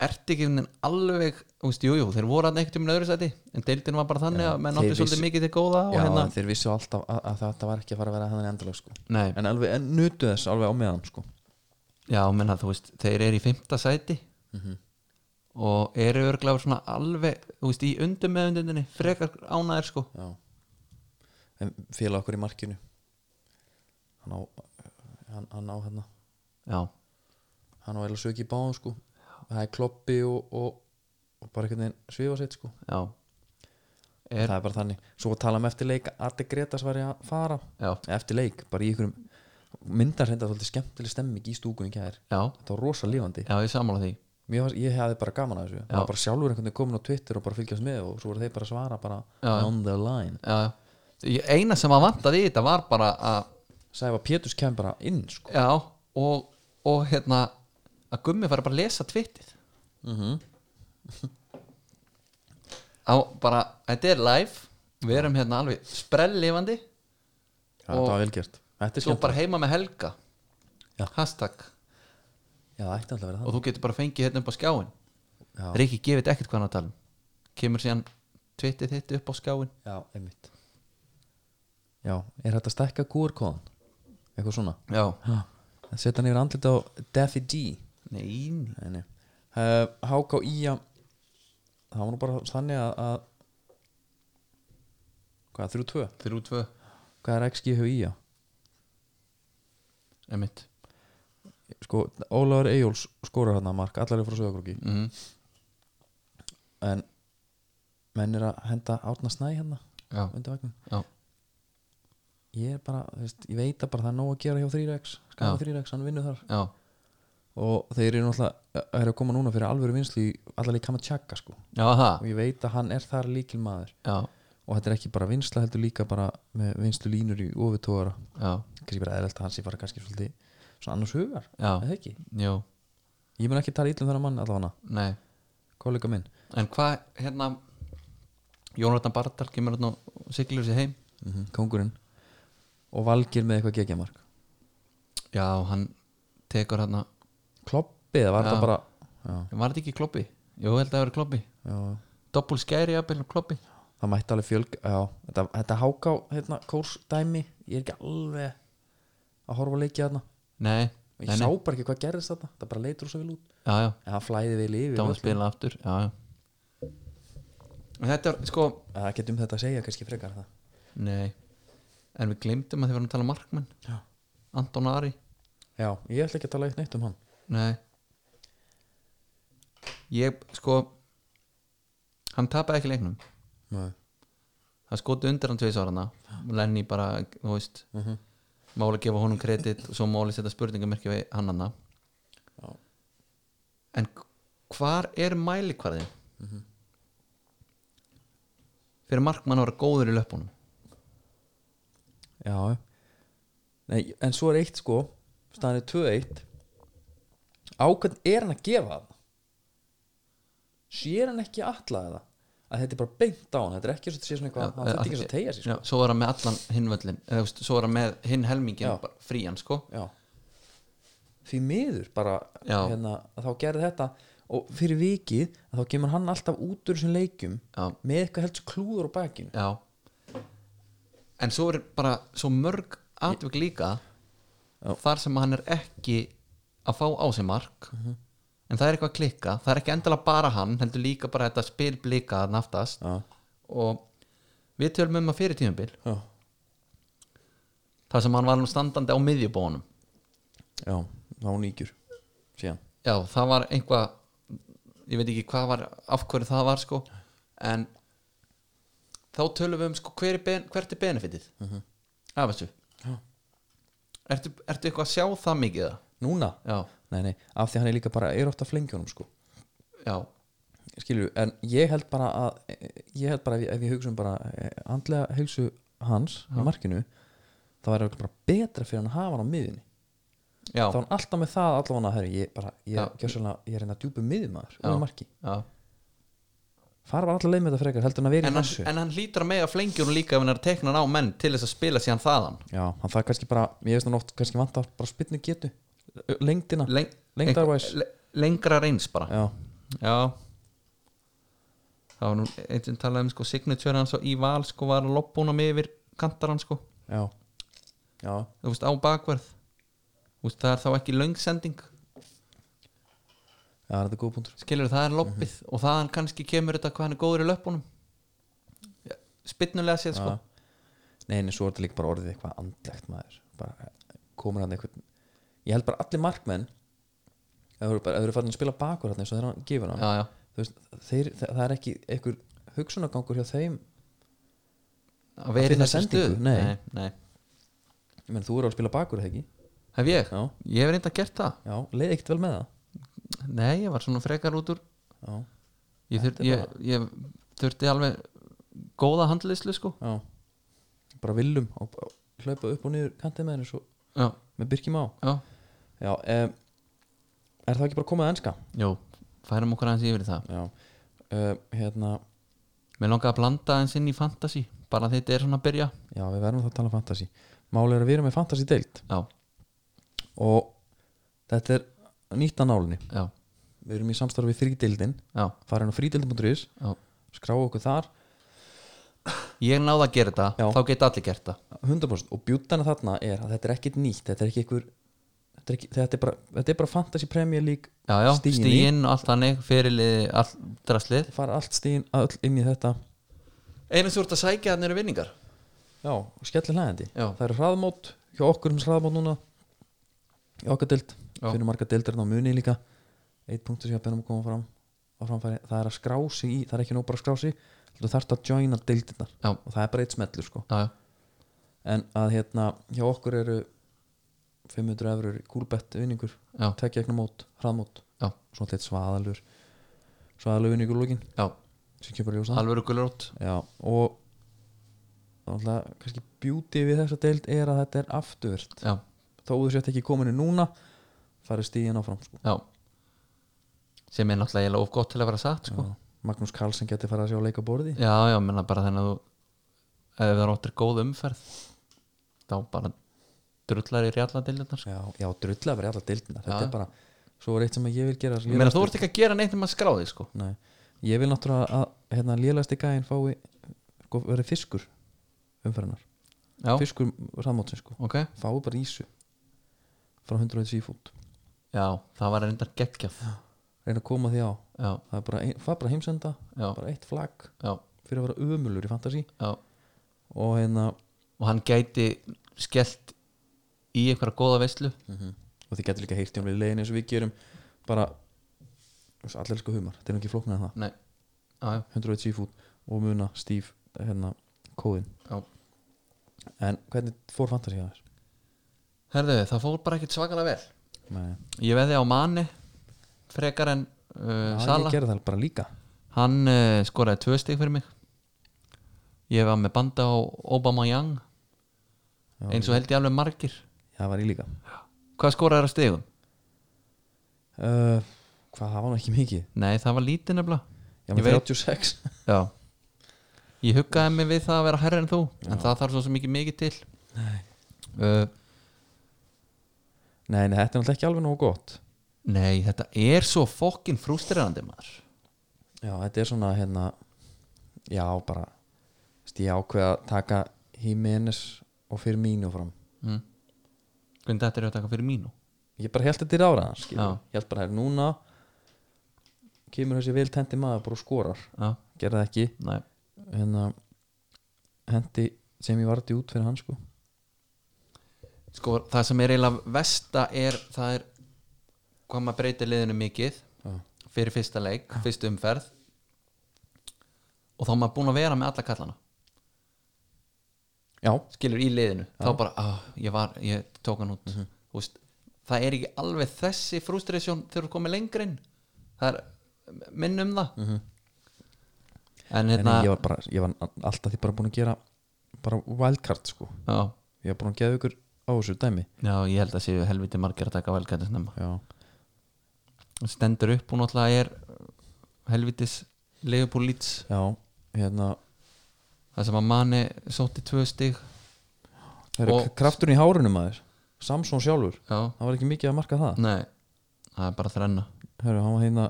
B: ert ekki einhvern veginn alveg þú veist, jújú, jú, þeir voru hann ekkert um öðru sæti en deildin var bara þannig að menn
A: þeir
B: átti svolítið
A: vissu-
B: mikið til góða og
A: Já,
B: hérna,
A: en þeir vissu alltaf að, að þetta var ekki að fara að vera þannig endalega sko.
B: nei,
A: en alveg, en nutu þess alveg á meðan sko.
B: já, menna þú veist þeir eru í fimmta sæti og eru örglega svona alveg, þú veist, í undum með undundinni frekar ánæðir sko
A: Já En félag okkur í markinu hann á hann, hann á hérna
B: já,
A: hann á eða sög í báðum sko það er kloppi og, og, og bara einhvern veginn svifa sitt sko
B: já er,
A: það er bara þannig, svo talaðum við eftir leik að Addi Gretas var að fara
B: já,
A: eftir leik, bara í einhverjum myndar reynda svolítið skemmtileg stemming í stúkunni kæðir
B: já,
A: þetta var rosa lífandi
B: já, ég sammála því
A: Mér fannst, ég hefði bara gaman að þessu það var bara sjálfur einhvern veginn komin á Twitter og bara fylgjast með og svo voru þeir bara að svara bara
B: Já.
A: on the line
B: já, já. Ég- eina sem að vantaði í þetta var bara að,
A: Sæfa Péturs kem bara inn sko
B: já og, og hérna að gummi fara bara að lesa tvittið á bara, þetta er live við erum hérna alveg sprellifandi
A: Já, þetta var velgjört Þetta er
B: svo
A: skemmt
B: bara heima með Helga
A: Já.
B: hashtag
A: Já, það ætti alltaf að vera
B: og þú getur bara fengið hérna upp á skjáin
A: Já.
B: Riki gefið ekkert hvað hann er að tala um kemur síðan tvittið þitt upp á skjáin
A: það Já, einmitt Já, er þetta að stekka QR-kóðan? Eitthvað svona
B: já,
A: Setja hann yfir andlita á Daffy D
B: nei
A: Nei, nei. uh, Háká Ía það var nú bara þannig að, að hvað, 3-2
B: þrjú tvö,
A: hvað er XG hjá Ía?
B: emitt
A: Sko, Ólafur Eyjóls skorar hann að mark allar er frá Söðakrúki
B: mm.
A: en menn er að henda átna snæ hérna
B: já,
A: undir vagnum
B: já,
A: ég er bara, þú veist, ég veit að bara það er nóg að gera hjá 3x skapa
B: Já.
A: 3x, hann vinnur þar
B: já,
A: og þeir eru náttúrulega að eru að koma núna fyrir alvöru vinslu í allarleik Kamachaka sko
B: já, það
A: og ég veit að hann er þar líkil maður
B: já,
A: og þetta er ekki bara vinsla heldur líka bara með vinslu línur í ofutóra
B: já,
A: kannski bara eðlelt að hann sé fara kannski svolítið svona annars hugar,
B: já,
A: eða ekki
B: já,
A: ég mun ekki tala illa um þennan mann allavega
B: nei
A: kollega minn
B: en hvað, hérna Jónatan Bardal kemur hérna og siglur sér heim
A: mm kóngurinn og valgir með eitthvað gegjamark
B: já, hann tekur hérna
A: kloppið, það var
B: Já.
A: þetta bara já,
B: var þetta ekki kloppi? Jú, ég held að það verið kloppi
A: já.
B: doppul skæri jafnvel kloppi
A: það mætti alveg fjölg já, þetta, þetta háká hérna, kórsdæmi, ég er ekki alveg að horfa að leikja þarna
B: nei,
A: ég
B: nei,
A: sá
B: nei,
A: bara ekki hvað gerðist þarna, það bara leitur svo vel út
B: já, já,
A: en það flæði vel yfir
B: þá hann
A: völlinn.
B: spila aftur já, já En þetta er, sko,
A: Að það getum þetta að segja kannski frekar það
B: nei en við glemdum að þið varum að tala um markmann
A: Já.
B: Anton Ari
A: já, ég ætla ekki að tala eitt neitt um hann
B: Nei Ég sko Hann tapaði ekki leiknum
A: Nei.
B: Það skotu undir hann tveisvarana Lenny bara, þú veist
A: Uh
B: Máli að gefa honum kredit og svo máli setja spurningamerki við hann anna
A: Já.
B: En hvar er mælikvarðin?
A: Mhm.
B: Fyrir markmann að vera góður í löpunum
A: Já Nei, En svo er eitt sko staðan er 2-1 Ákvæmt er hann að gefa það Sér hann ekki allaði það að þetta er bara beint á hann þetta er ekki svo að sé svona eitthvað hann þetta ekki eins og að tegja sér sko.
B: Já, Svo er hann með allan hinvöllin eða, þú veist, Svo er hann með hinn helmingin
A: Já.
B: bara frían sko
A: já. Því miður bara
B: Já.
A: hérna, að þá gerði þetta og fyrir vikið að þá kemur hann alltaf út úr þessum leikjum
B: Já.
A: með eitthvað helst klúður á bakinu
B: Já En svo er bara svo mörg atvik líka þar sem hann er ekki að fá á sig mark en það er eitthvað að klikka það er ekki endala bara hann, heldur líka bara þetta spil blika að naftast
A: Já.
B: og við tölum um að fyrir tímabil
A: Já.
B: þar sem hann var nú standandi á miðjubónum
A: já, þá nýgjur síðan
B: Já, það var einhvað ég veit ekki hvað var, af hverju það var sko en þá tölum við um sko hver er ben, hvert er benefitið
A: Mhm.
B: af þessu ertu, ertu eitthvað að sjá það mikið eða?
A: Núna?
B: Já,
A: Nei, nei, af því hann er líka bara er ofta flengjónum sko
B: já,
A: skilur, en ég held bara að ég held bara ef, ef ég hugsa um bara eh, andlega hugsu hans í markinu þá er það bara betra fyrir hann að hafa hann á miðinni
B: já,
A: þá er hann alltaf með það allavega herri, ég, bara,
B: Já.
A: ég, gjössalega, ég er hérna djúpu miðumæður
B: Já.
A: og marki,
B: já.
A: fara var alltaf leið með þetta frekar heldur hann að vera
B: En,
A: í
B: hann,
A: þessu
B: en hann hlýtur að mega flengjur líka ef hann er að tekna hann á menn til þess að spila síðan þaðan
A: já, hann það kannski bara, ég veist hann oft kannski vant að bara spynnu getu lengdina,
B: Leng,
A: Lengdarvæs.
B: le- lengra reyns bara
A: já,
B: Já Það var nú einn sem talaði um sko signature hans og í val sko var að lobbúnum yfir kantar hann sko
A: já já,
B: þú veist á bakverð Þú veist, það er þá ekki löngsending
A: já, þetta er góð punktur
B: skilur það er loppið
A: Mhm.
B: og þaðan kannski kemur þetta hvað hann er góður í löpunum spinnulega séð sko
A: Já. Nei, en svo er þetta líka bara orðið eitthvað andlegt maður bara eh, komur hann eitthvað ég held bara allir markmenn ef þú eru bara- ef þú eru farin að spila bakur hann eins og þegar hann gefur hann
B: já, já,
A: þú veist, þeir, það, það er ekki einhver hugsunagangur hjá þeim
B: að vera í
A: finna
B: þessu
A: sendingu?
B: stuð
A: Nei.
B: Nei, nei.
A: ég menn þú eru að spila bakur eða ekki
B: hef ég,
A: Já.
B: ég hef reynda gert það
A: já, leið ekkert vel með það
B: nei, ég var svona frekar út úr
A: já,
B: ég, þur,
A: Þetta er
B: ég, ég þurfti alveg góða handlislu sko
A: já bara viljum og og hlaupa upp og niður kantið með henni svo
B: já,
A: með byrkjum á
B: já,
A: já, um, er það ekki bara komið að enska
B: jú, færum okkur aðeins yfir í það
A: já, um, hérna
B: mér langaði að blanda aðeins inn í fantasy bara þetta er svona að byrja
A: já, við verðum þá að tala um fantasy máli er að við erum með fantasy deilt
B: já,
A: og þetta er nýtt að nálinni
B: já,
A: við erum í samstarfi við þrídeildin
B: já,
A: farin á þrídeildin.is,
B: já
A: skrá okkur þar
B: ég náði að gera þetta,
A: Já.
B: þá geta allir gert það
A: 100% og bjútana þarna er að þetta er ekkit nýtt þetta er ekki einhver þetta þetta er, ekki, þetta er, bara, þetta er bara Fantasy Premier League
B: já, já,
A: stigin í.
B: stíin og allt þannig fyrirliði, allt draslið
A: fara allt stíðin öll inn í þetta
B: einu þú ert að sækja þannig eru vinningar
A: já, skellir hlæðandi
B: Já.
A: það eru hraðmót, hjá okkur um hraðmót núna í okkar dild
B: Já.
A: fyrir marga dildir á muni líka eitt punktur sem ég að bennum að koma fram á framfæri, það er að skrási í, það er ekki nóg bara að skrási þú þarft að joina dildirnar
B: Já.
A: og það er bara eitt smellur sko
B: já, já,
A: en að hérna, hjá okkur eru 500 eurur kúlbett vinningur,
B: Já.
A: tekja ekna mót, hraðmót
B: Já.
A: svona leitt svaðalur svaðalur vinningur lókin
B: já,
A: sem kemur í ljós það.
B: alvöru gulrót
A: Já, og alltaf, kannski beauty við þessa deild er að þetta er afturvirt
B: já,
A: þó þú sért ekki kominu núna farið stíðin áfram sko.
B: já sem er náttúrulega eiginlega of gott til að vera satt sko.
A: Já. Magnús Karlsson geti farið að sjá leika borði
B: já, já, menna bara þannig að þú ef það ráttir góð umferð þá bara drullar í rjalladiljarnar sko.
A: já, já drulla verið allar deildina þetta
B: Já.
A: er bara, svo er eitt sem að ég vil gera sem ég
B: menna
A: er
B: þú ert ekki að gera neitt um að skrá þig sko.
A: Nei, ég vil náttúrulega að hérna, lélæsti gæinn fái sko, verið fiskur umferðinar
B: já,
A: fiskur raðmótsins sko
B: ok
A: fái bara ísu frá 100 seafood
B: já, það var reyndar geggjað
A: reyna að koma því á
B: já,
A: það er bara, ein, það er bara heimsenda
B: já,
A: bara eitt flagg
B: já,
A: fyrir að vera ömulur í fantasi
B: já
A: og hérna
B: og hann gæti skellt í einhverja góða veislu
A: og þið getur líka heyrt í um leiðin eins og við gerum bara þú veist, allir sko humar þetta er nú ekki flóknað en það
B: nei, já, já,
A: 100 seafood og muna Steve hérna kóðin
B: já
A: en hvernig fór fantasi að
B: herðu, það fór bara ekkert svakalega vel
A: þess?
B: Ég veði á Mani frekar en
A: Já,
B: uh,
A: ég
B: Sala
A: gerði það bara líka
B: Hann uh, skoraði tvö stig fyrir mig Ég var með banda á Obama Young
A: Já,
B: eins og held ég alveg margir
A: það var ég líka
B: Hvað skoraði þér á stigum?
A: uh, hvað það var nú ekki mikið
B: Nei, það var lítið nefnilega
A: ég var
B: Ég
A: með
B: veit.
A: 36
B: Já Ég huggaði mig við það að vera herri en þú en það þarf svo sem ekki mikið til Nei uh,
A: nei, nei, þetta er náttúrulega ekki alveg nógu gott
B: Nei, þetta er svo fokkin frústrerandi maður
A: já, þetta er svona hérna já, bara þú veist, ég ákveða að taka Jimenez og fyrir mínu fram
B: mm. Hvernig þetta er þetta fyrir mínu
A: ég bara held þetta í ráraðan skilur.
B: Já.
A: ég held bara að núna kemur þessi vel tendi maður bara og skorar
B: Já,
A: gerði það ekki
B: nei
A: hérna, hendi sem ég varði út fyrir hann sko
B: sko, það sem er eiginlega vesta er það er hvað maður breytir liðinu mikið
A: Já.
B: fyrir fyrsta leik, fyrstu umferð og þá er maður búin að vera með alla kallana
A: já,
B: skilur í liðinu, þá bara ah, ég var, ég tók hann út mm veist, það er ekki alveg þessi frustration þegar þú komið lengur inn það er minn um það en
A: en
B: hérna
A: ég var bara ég var alltaf því bara búin að gera bara wildcard sko
B: já,
A: ég var búin að gefa ykkur á þessu dæmi
B: já, ég held að séu helviti margir að taka velgæti snemma
A: já,
B: stendur upp og náttúrulega er helvitis Leopold Leeds
A: já hérna
B: það sem að manni sótti tvö stig
A: heru,
B: Og-
A: krafturinn í hárunum aðeins Samson sjálfur,
B: já,
A: það var ekki mikið að marka það
B: nei það er bara þrenna
A: heru, hann var hérna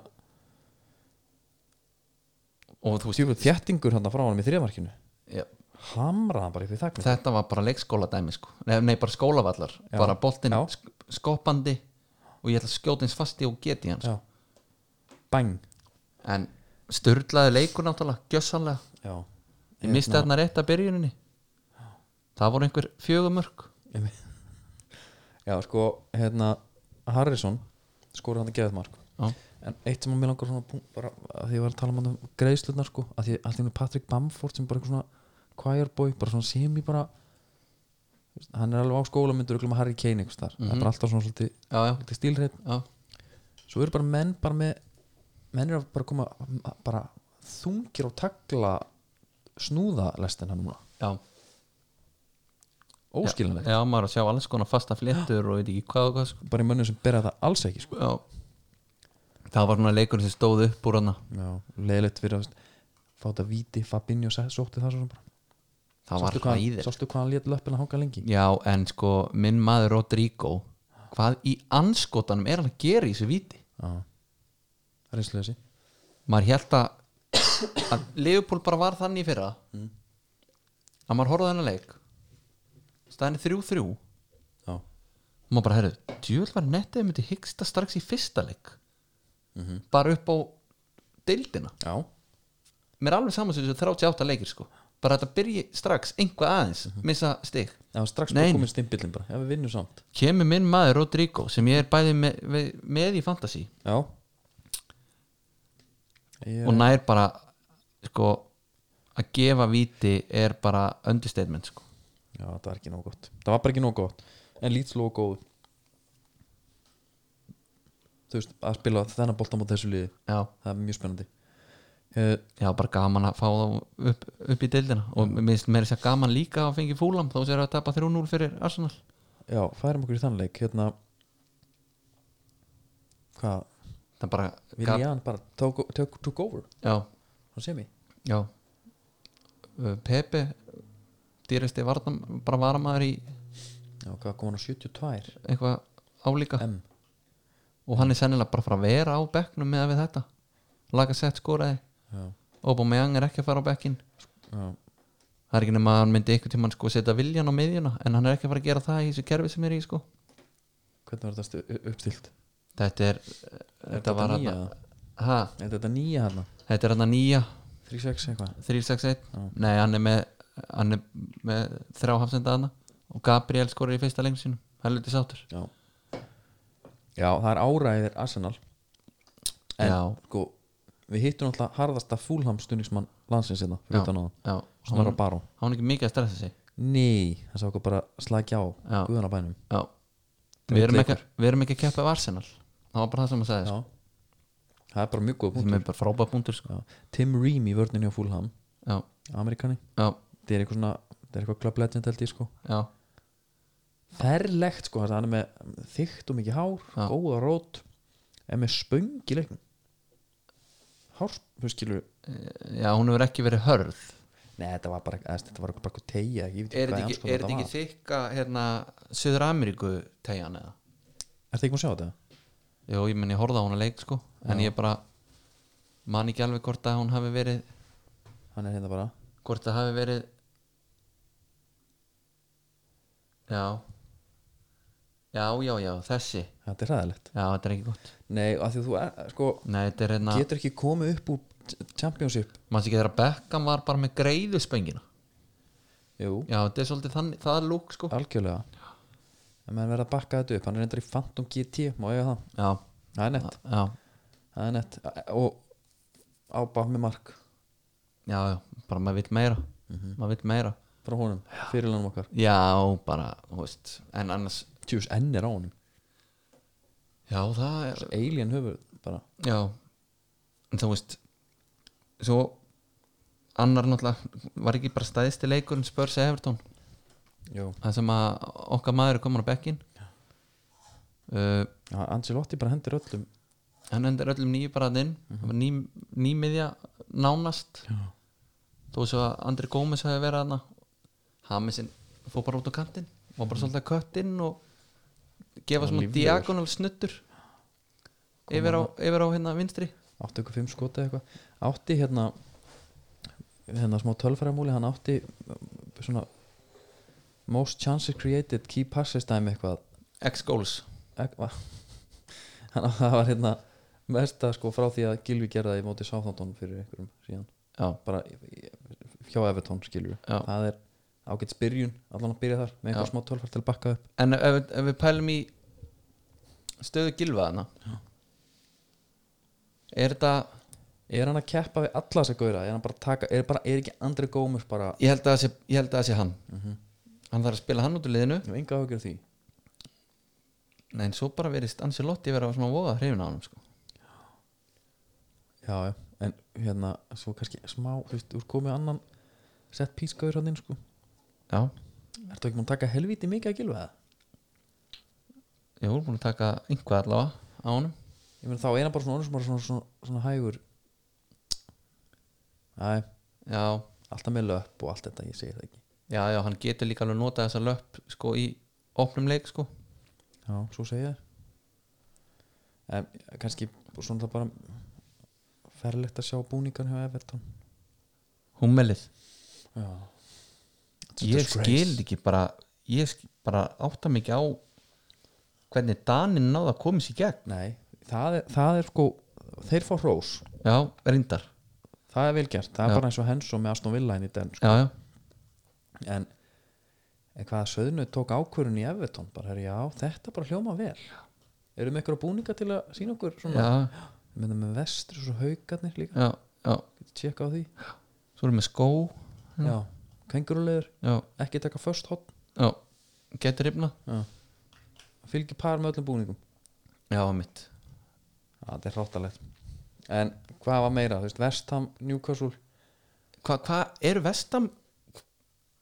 B: og þú
A: tjúfum þjættingur hann frá hann í þriðmarkinu
B: já,
A: hamraði hann bara upp í þakni
B: þetta var bara leikskóla dæmi sko. nei, nei, bara skólavallar
A: Já.
B: bara boltinn
A: Já.
B: sk skopandi og ég ætla að skjóta eins fasti og geti hann sko.
A: já. bang
B: en styrlaði leikur náttúrulega gjössanlega,
A: já.
B: ég misti þarna rétt að byrjuninni það voru einhver fjögumörk
A: já sko hérna Harrison skorur hann að gefa þetta mark
B: já,
A: en eitt sem að mér langar svona pú- bara, að því ég var að tala um hann um greiðslutnar sko að því allt í hennu Patrick Bamford sem bara einhver svona choir boy, bara svona semi bara þú veist, hann er alveg á skólamyndur öllum að Harry Kane einhvers þar, það er bara alltaf svona svolítið,
B: já, já,
A: svolítið stílreit
B: já.
A: svo eru bara menn bara með menn eru að bara koma bara þungir og tagla snúða lestina núna
B: já.
A: óskilinlega,
B: já, maður er að sjá alls konar fasta fléttur og veit ekki hvað og hvað sko.
A: bara í mönnum sem bera það alls ekki sko.
B: já. það var svona leikur sem stóð upp úr hana
A: já, leðilegt fyrir að fá þetta víti, Fabinho se- sótti það svo sem bara
B: það var
A: sástu hvað, hann-
B: hræðir
A: sástu hvað hann lét löppina hanga lengi
B: já en sko minn maður Rodrigo hvað í anskotanum er hann að gera í þessu viti
A: já. reynslega þessi
B: maður held að að Leopold bara var þannig í fyrra að maður horfði á þennan leik staðan er 3-3
A: já.
B: og maður bara, herru, djúvel var nettið myndi hyggsta strax í fyrsta leik bara upp á deildina
A: já,
B: mér er alveg saman sem þessu 38 leikir sko bara að þetta byrji strax, einhvað aðeins missa stig
A: það var strax
B: Nei,
A: bara
B: nei.
A: komin stimpillin bara, já við vinnum samt
B: kemur minn maður Rodrigo sem ég er bæði með, með, með í fantasy
A: já ég,
B: og nær bara sko að gefa viti er bara understatement sko
A: já, það var ekki nóg gott það var bara ekki nóg gott, en lít slóð góð þú veist, að spila þennan bolta mot þessu liði,
B: já,
A: það er mjög spennandi uh,
B: já bara gaman að fá þá upp, upp í deildina og mér finnst meira sér gaman líka að fengi fúlam þá sér að tapa 3-0 fyrir Arsenal
A: já, færum okkur í þann leik hérna hvað,
B: það bara gat-
A: Viljan bara tók, tók, took over
B: já,
A: hann sé mig
B: já Uh, Pepe dýrasti varnam, bara varamæður í
A: já, hvað kom hann á 72
B: eitthvað álíka
A: M
B: og hann er sennilega bara að fara að vera á bekknum með við þetta laga sett skoraði
A: já,
B: Aubameyang er ekki að fara á bekkin
A: já,
B: það er ekki nema að hann myndi einhvern tímann sko setja viljan á miðjuna en hann er ekki að fara að gera það í þessu kerfi sem er í sko
A: hvernig var þetta stu- u- uppstilt
B: þetta er,
A: þetta
B: þetta var
A: nýja?
B: hann ha,
A: er þetta nýja hann
B: þetta er hann að nýja
A: 36 eitthvað
B: 361, nei hann er með hann er með þrjá hafsenda hana og Gabriel skorur í fyrsta lengur sínum helviti sáttur
A: já já, það er áræðir Arsenal en
B: Já.
A: sko við hittum alltaf harðasta fúlham stunningsmann landsins hérna, fyrir utan á það
B: já, Mhm.
A: sem var
B: hann,
A: að baró
B: hann er ekki mikið að stressa sig
A: nei, það sá okkur bara slækja á
B: Já.
A: guðanabænum
B: já,
A: Þetta
B: við erum,
A: er
B: ekki, við erum ekki að keppa af Arsenal það var bara það sem hann sagði
A: já
B: sko.
A: það er bara mjög góð
B: sem er bara frábæð punktur sko.
A: Já. Tim Ream í vörninni á Fulham
B: já,
A: Amerikani,
B: já,
A: það er eitthvað svona það er eitthvað club legend held ég sko
B: já,
A: ferlegt sko, hann er með þykkt og mikið hár,
B: Já.
A: góða rót en með spöng í leiknum hár, þú skilur
B: já hún hefur ekki verið hörð
A: Nei, þetta var bara, eða, þetta var bara eitthvað tegja ég veit
B: er
A: hvað sko, í
B: þetta ekki,
A: anskotanum
B: er þetta ekki þykka hérna, Suður Ameríku tegjan eða?
A: var Ertu ekki maður að sjá þetta?
B: Jó, ég menn ég horfði á hún að leik sko en ég bara man ekki alveg hvort að hún hafi verið
A: Hann er hérna bara
B: hvort það hafi verið já já, já, já, þessi já,
A: Þetta er hræðilegt
B: þetta er ekki gott
A: Nei, af því að þú er, sko,
B: nei, þetta er hérna,
A: getur ekki komið upp úr championship
B: mann sé ekki þegar að Beckham var bara með greiðu spöngina
A: Jú,
B: já, þetta er svolítið þannig, það er lúk sko
A: algjörlega En maður verða að bakka þetta upp Hann er reyndar í Phantom GT, má ég að það
B: já,
A: Það er nett,
B: já,
A: það er nett Og ábá með mark
B: já, já bara maður vill meira maður vill meira
A: frá honum, fyrirlanum okkar
B: já, bara, þú veist en annars,
A: Tjús, enn er á honum
B: já, það er
A: Alien höfuð, bara
B: já, en þú veist svo annar náttúrulega, var ekki bara stæðisti leikurinn spörsi Evertón
A: Jú,
B: það sem að okkar maður er komin á bekkin uh,
A: ja, Ancelotti bara hendur öllum
B: hann endur öllum nýju bara þinn mm -hmm. ný, nýmiðja nánast
A: Já.
B: þó svo að Andri Gómez hafi verið hana Hamisinn fór bara út á kantinn var bara svolítið að kött inn og
A: Mm.
B: gefa
A: Var
B: svona
A: líflegur.
B: diagonal snuttur yfir á, yfir á hérna vinstri
A: 85 skoti eða eitthvað átti hérna hérna smá tölfæramúli, hann átti um, svona most chances created, key passes dæmi eitthvað
B: X-Goals
A: eitthvað hann það var hérna mesta sko frá því að Gilvi gerði það í móti sáþántón fyrir einhverjum síðan
B: Já.
A: bara í- í- hjá Evertón skilur
B: Já.
A: það er ágætt spyrjun, allan að byrja þar með einhver
B: Já.
A: smá tölfært til að bakka upp
B: en ef, ef, ef við pælum í stöðu gilvaðana er þetta
A: er hann að keppa við alla þessa gauðra er hann bara að taka, er, bara, er ekki Andri Gómez bara,
B: ég held að það sé, ég held að það sé hann hann þarf að spila hann út úr liðinu
A: ég hef enga áhugjur því
B: Nei, en svo bara verið Ancelotti vera svona voða hrifin á hann sko.
A: já, já, en hérna svo kannski smá, þú veist, úr komið annan sett pískaður hann inn, sko
B: já,
A: Ertu ekki múin að taka helvíti mikið að gilfa það?
B: ég voru búin að taka einhvað allavega á hann
A: Ég meina þá er hann bara svona, orðinn sem bara svona, svona, svona hægur Æ,
B: já,
A: alltaf með löp og allt þetta, ég segi það ekki
B: já, já, hann getur líka alveg notað þessa löpp sko í opnum leik sko
A: Já, svo segi það En kannski svona það bara ferlegt að sjá búningan hjá Everton
B: húmmelið,
A: Já It's a
B: ég
A: disgrace.
B: skil ekki bara, ég skil bara átta mikið á hvernig Danin náða að koma sér í gegn
A: Nei, það er, það er sko þeir fá hrós,
B: já, reyndar
A: það er vel gert það er
B: Já.
A: bara eins og Hensó með Aston Villa henni í den sko.
B: já, já,
A: en, en hvað Söðnu tók ákvörun í Everton bara, heru, já, þetta bara hljóma vel eru með ykkur búninga til að sína okkur
B: já,
A: svona, við myndum með vestur og haugarnir líka,
B: já, já.
A: tjekka á því
B: svo erum við skó Mm.
A: já, kengurulegur,
B: já,
A: ekki taka först hot,
B: já, getur rifna
A: fylgi par með öllum búningum
B: já, mitt
A: Já, þetta er hróttalegt En hvað var meira, þú veist, Vestham, Newcastle
B: hvað hva eru vestam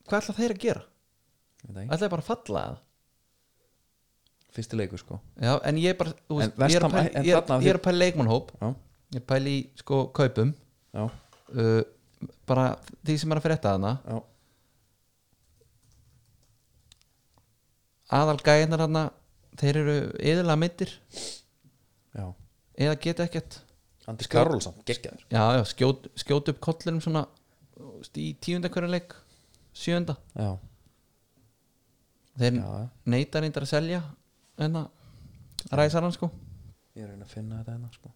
B: hvað ætla þeir að gera?
A: ég veit það ekki,
B: ætla þeir bara að falla að?
A: Fyrsti leikur sko
B: já, en ég er bara,
A: En
B: þú veist, ég er
A: West Ham-
B: að pæla-
A: en
B: ég
A: þarna-
B: er- ég er að pæla í leikmannhóp
A: Já,
B: ég er að pæla í sko kaupum
A: já,
B: uh, bara því sem er að frétta þarna
A: já,
B: aðal gæðinar þarna þeir eru eðalega mittir
A: já. Sko,
B: eða geta ekkert
A: Andi Karolsson, geggjaður
B: já, já, skjót, skjót upp kollinum svona þú veist, í tíunda hverju leik sjönda
A: Já,
B: þeir
A: já, já.
B: neyta reyndar að selja en að ræsa hann sko
A: ég er að reyna að finna þetta hennar sko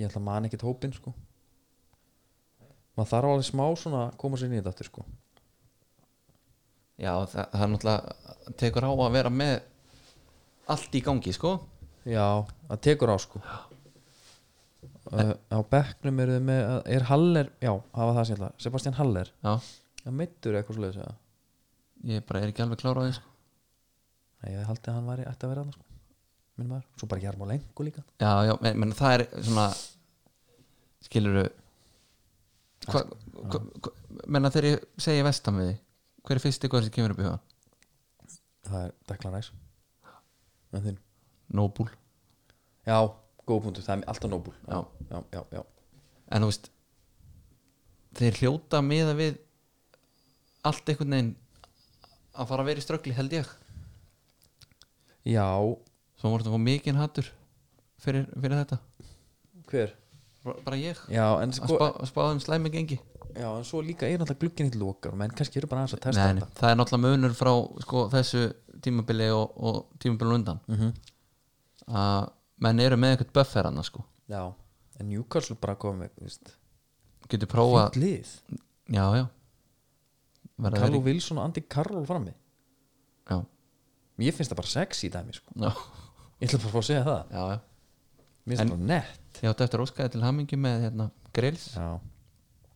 A: Ég ætla að man ekkit hópinn sko Maður þarf alveg smá svona að koma sér nýtt aftur sko
B: já, það, það er náttúrulega tekur á að vera með allt í gangi sko
A: Já, það tekur á sko uh, Á bekknum eru þau með Er Haller, já, það var það sem ég ætla Sebastian Haller,
B: já,
A: það meittur eitthvað svo leiðis
B: ég bara er ekki alveg klára á því sko
A: Nei, ég haldi að hann væri ætti að vera hann sko. Minn maður, svo bara Jarmó Lengu líka
B: já, já, men, men það er svona skiluru hva, hva, hva, menna þegar ég segi vestan við þig, hver er fyrsti góður sem kemur upp í hugan?
A: Það er Declan Rice En þinn
B: Nóbúl
A: Já, góð punktur, það er alltaf nóbul
B: Já.
A: já, já, já,
B: en þú veist þeir hljóta miða við allt einhvern veginn að fara að vera í ströggli held ég
A: já
B: svo voru þetta að fá mikinn hattur fyrir, fyrir þetta,
A: hver?
B: Bara- bara ég
A: Já, en
B: að
A: sko,
B: spá, að spáða um slæmi gengi
A: já, en svo líka er náttúrulega glugginn í lokar menn kannski eru bara aðeins að testa
B: nei, nei, það er náttúrulega munur frá sko, þessu tímabili og, og tímabili undan
A: Mhm.
B: að menn eru með eitthvað buffer annars sko
A: þetta Já, en Newcastle bara komið með, þú veist
B: getur prófað
A: Fint lið,
B: já, já Verða
A: Karlu
B: þeir í-
A: Wilson og Andy Carroll frammi
B: já,
A: Mér finnst það bara sexy í dæmi, sko
B: já,
A: Ég ætla bara að fá að segja það,
B: já, já.
A: mér finnst það bara nett
B: ég átti eftir óskaði til hamingi með hérna, grills já.
A: Já,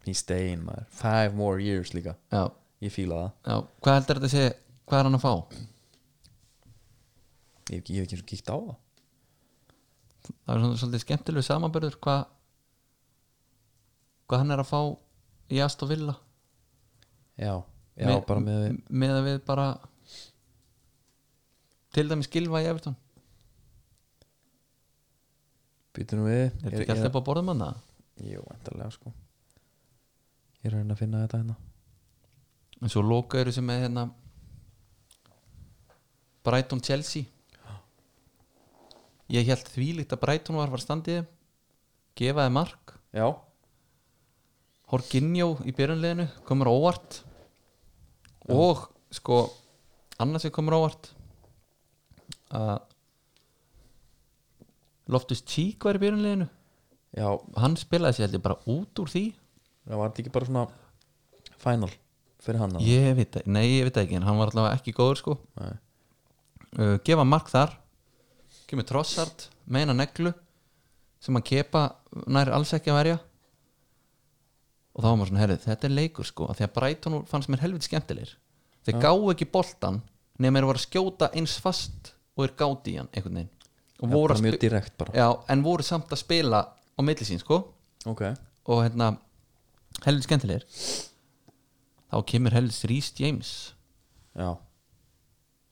A: he's staying, maður Five more years líka,
B: Já,
A: ég fíla það
B: hvað heldur þetta að segja hvað er hann að fá
A: Ég hef ekki- ég hef ekki eins og kíkt á það
B: það er svona svolítið skemmtileg samanbörður hvað hvað hann er að fá í Aston Villa
A: Já, já
B: Me-
A: bara með
B: m- með að við bara til dæmis gilva í Everton
A: Býtum við
B: er þetta ekki alltaf upp á borðum hann það?
A: Jú, endalega sko Ég er að reyna að finna þetta hérna
B: en svo loka eru sem er hérna Brighton Chelsea ég held þvílíkt að Brighton var var standið gefaði mark
A: Já,
B: Horginjó í byrjunleginu komur óvart og sko annars sem komur óvart að Loftus Cheek var í byrjunleginu
A: já,
B: hann spilaði sér held ég bara út úr því
A: það var þetta ekki bara svona Final fyrir hann yeah.
B: ég veit ekki, nei ég veit ekki en hann var allavega ekki góður sko uh, gefa mark þar kemur trossart, meina neglu sem að kepa nær alls ekki að verja og þá var maður svona, herrið, þetta er leikur sko af því að Brighton fannst mér helviti skemmtilegir þeir gáu ekki boltan nema þeir voru að skjóta eins fast og þeir gáti í hann einhvern veginn og
A: Já,
B: voru
A: bara
B: að
A: mjög
B: spi-
A: direkt bara
B: já, en voru samt að spila á milli sín sko
A: Ok,
B: og hérna helviti skemmtilegir þá kemur helviti Rhys James
A: já,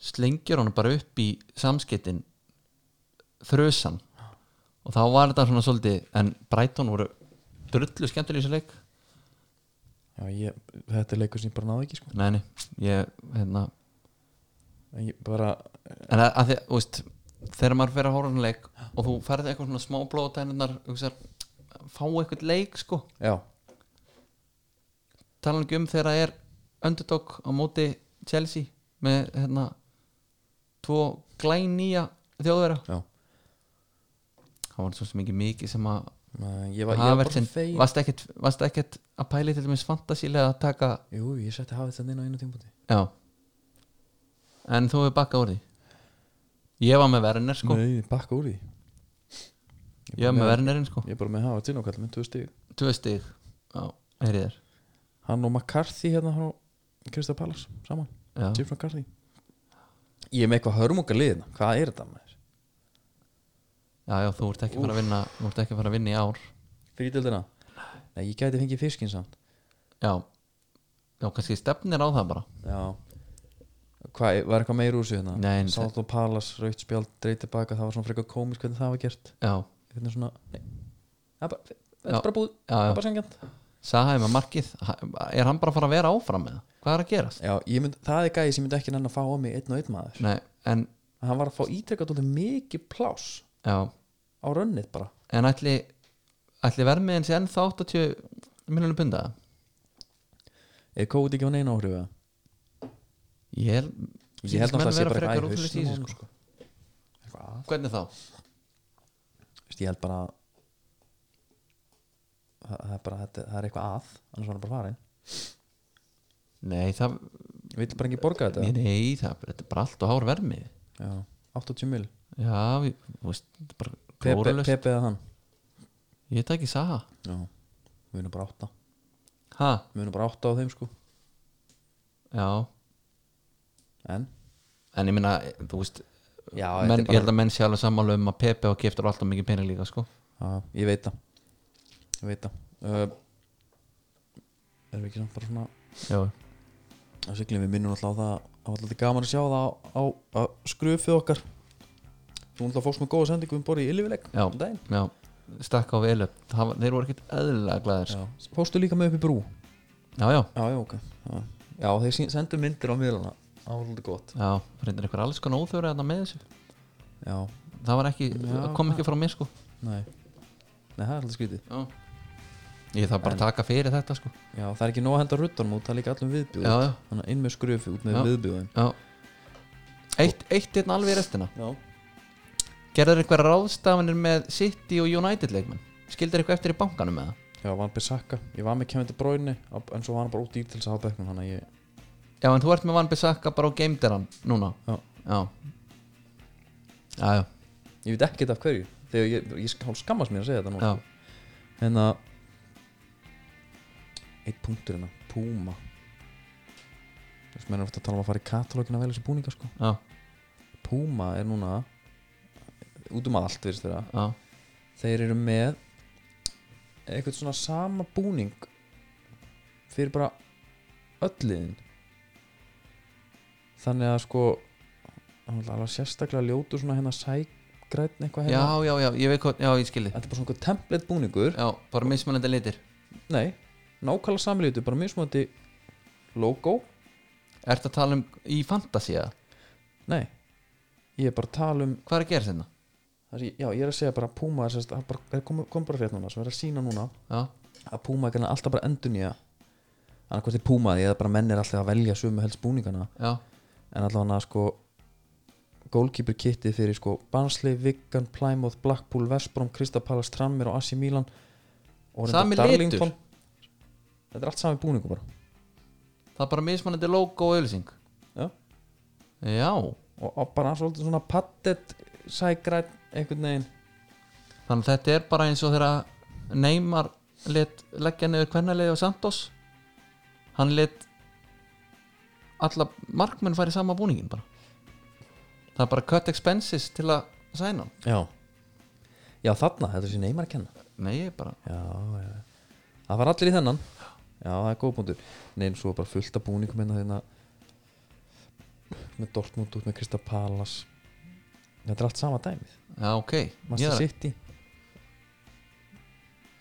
B: slengjur hann bara upp í samskettin þrösan og þá var þetta svona svolítið en Brighton voru drullu skemmtileg í þessu leik
A: já ég, þetta er leikur sem ég bara náði ekki sko
B: nei, nei, ég hérna
A: En ég bara,
B: en að, að því, þú veist, þegar maður fer að horfa á svona leik og þú ferði eitthvað svona smá blóðtæninar fá eitthvað leik sko
A: já,
B: tala ekki um þegar það er underdog á móti Chelsea með hérna tvo glænýja þjóðvera
A: já
B: það var svo sem ekki mikið sem að
A: Nei, ég var, ég var bara
B: Havertzen,
A: fegin
B: varst ekkert, varst ekkert að pæli til dæmis fantasílega að taka
A: jú, ég setti hafið þetta inn á einu tímpúti
B: já en þú hefur bakkað úr því ég var með Werner sko
A: nei, bakka úr því ég
B: ég var með Wernerinn sko,
A: ég er bara með hafið til nákvæmlega með tvö stig
B: tvö stig já, heyrið þér
A: hann og McCarthy hérna hann og Krista Pallas saman,
B: Já.
A: Jim McCarthy ég er með eitthvað hörmunga liðina hvað er þetta með þér?
B: já, já, þú ert ekki að fara að vinna þú ert ekki að fara að vinna í ár
A: frítildina? nei, ég gæti fengið fiskinn samt
B: já, já, kannski stefnir á það bara
A: já hvað, var eitthvað meir úr sig hérna?
B: Nei, en-
A: Sátt og Pallas, Raut spjald, dreit tilbaka það var svona frekar komisk hvernig það var gert
B: já,
A: hvernig svona, nei það er bara, það
B: Já.
A: er bara búið,
B: Já,
A: það
B: já.
A: er bara sengjant
B: Saha er með markið ha- er hann bara að fara að vera áfram með það? hvað er að gerast?
A: já, ég mynd, það er gæði sem ég myndi ekki nenn að fá á mig einn og einn maður
B: Nei, en,
A: hann var að fá ítrekkað út mikið pláss
B: já,
A: á rönnið bara
B: en ætli ætli vermiðin sé ennþá 80 miljonum punda
A: eða kóði ekki á neina áhrifu eða?
B: ég, held-
A: ég held
B: sýnist
A: að
B: menn
A: það sé
B: vera
A: bara
B: frekar
A: eitthvað í
B: ótrúlega
A: hausnum á
B: síðan,
A: honum,
B: sko.
A: sko. Eitthvað að-
B: hvernig þá?
A: Þú veist, ég held bara að það það er bara þetta, það er eitthvað að annars var hann bara farin
B: Nei, það,
A: ég vil bara ekki borga þetta
B: nei, nei, það þetta er bara allt og hár vermið
A: já, 80 mil
B: Já, við, þú veist, þetta er bara
A: Pepe,
B: glóralust
A: Pepe eða hann
B: Ég tek ekki Saha
A: já við erum bara átta
B: Ha,
A: við erum bara átta á þeim sko
B: já
A: en
B: En ég meina, þú veist
A: já, þetta er
B: menn, Ég
A: bara,
B: held að menn sé alveg sammála um að Pepe og Keftur alltaf mikið pening líka, sko
A: já, ég veit það ég veit það uh, erum við ekki samt bara svona
B: Já,
A: að siglum við minnum alltaf á það það var alltaf gaman að sjá það á, á, á skröfið okkar þú alltaf fórst með góða sendingu um borði í Illivileg
B: Já.
A: um daginn
B: já Stakk á velu, það, var- þeir voru ekkert eðlilega glæðir sko.
A: Já. fórstu líka með upp í brú
B: Já, já,
A: já, já, ok já, já þeir sín- sendu myndir á miðlana það var alltaf gott
B: já Reyndar einhver alls konar óþjóra þarna með þessu
A: já,
B: Það var ekki,
A: Já,
B: kom ekki frá mér, sko
A: nei nei, það er alltaf skrítið
B: Já Ég þarf bara að taka fyrir þetta, sko
A: já, það er ekki nóg að henda ruttanum út það er líka allum viðbjóð
B: Já, já.
A: þannig að inn með skröfið út með
B: Já.
A: viðbjóðin
B: Já Eitt, eitt hérna alveg í restina
A: já
B: Gerðar eitthvað ráðstafanir með City og United leikmenn? Skildar eitthvað eftir í bankanum með það?
A: já, var Bissaka ég var með kemur til bróinni en svo var hann bara út í til þess að hafa bekknum þannig að ég
B: Já, en þú ert með Van Bissaka bara á geimderan núna
A: Já.
B: Já Já, já,
A: ég veit ekkert af hverju þegar ég, ég, ég hálf skammast mér að segja þetta nú
B: já.
A: hérna eitt punktur hérna, Puma þú veist, mennum ofta að tala um að fara í katalógin að velja sér búninga sko
B: já,
A: Puma er núna út um allt, veist þeirra
B: já.
A: þeir eru með eitthvað svona sama búning fyrir bara öll liðin þannig að sko hann er alveg sérstaklega ljótu svona hérna sægrætn eitthvað
B: já,
A: hérna
B: já, já, ég veit hvað, já, ég skildi
A: þetta er bara svona eitthvað template búningur
B: Já, bara mismunandi litir
A: Nei, nákvæmlega samlítu bara mismunandi logo
B: Ertu að tala um í fantasy eða?
A: Nei, ég er bara að tala um
B: Hvað er að hérna? gera sérna?
A: það sem ég- Já, ég er að segja bara að Puma er, sérst, það er bara, er kom, kom bara frétt núna sem er að sína núna
B: Já,
A: að Puma er greinilega alltaf bara endur nýja annað hvort er Puma því að bara menn er alltaf að velja sömu helst búningana
B: já,
A: en allavega sko goalkeeper kittið fyrir sko Barnsley, Viggan, Plymouth, Blackpool, Vestbrom Kristapalas, Trammir og Asi Milan og reyndar
B: Sami
A: Darlington. Þetta er allt sami búningu bara
B: það er bara mismunandi logo og ölsing
A: Já
B: Já,
A: og, og bara svolítið svona pattet sægræn einhvern veginn
B: þannig að þetta er bara eins og þegar Neymar let leggja niður kvennalegi og Santos hann let alla markmenn fara í sama búningin bara það er bara cut expenses til að sæna hann
A: já já þarna, þetta er sér neymar að kenna
B: nei, ég er bara,
A: já, já það var allir í þennan já, það er góð punktur neyn svo bara fullt af búningum hérna þeirna með Dortmund út með Krista Palas þetta er allt sama dæmið
B: já ok ég
A: Master
B: er,
A: City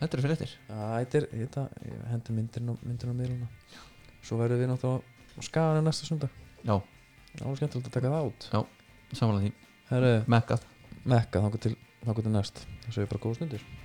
B: þetta er fyrir þér
A: já, þetta er, þetta, ég hendur myndirinn á, myndirinn á miðluna svo verðum við náttúrulega á skaganu næsta sundag
B: já,
A: það var skemmtilegt að taka það út
B: já, samanlega því
A: herru,
B: mekkað,
A: mekka þangur til, þangur til næst það segir bara góða stundir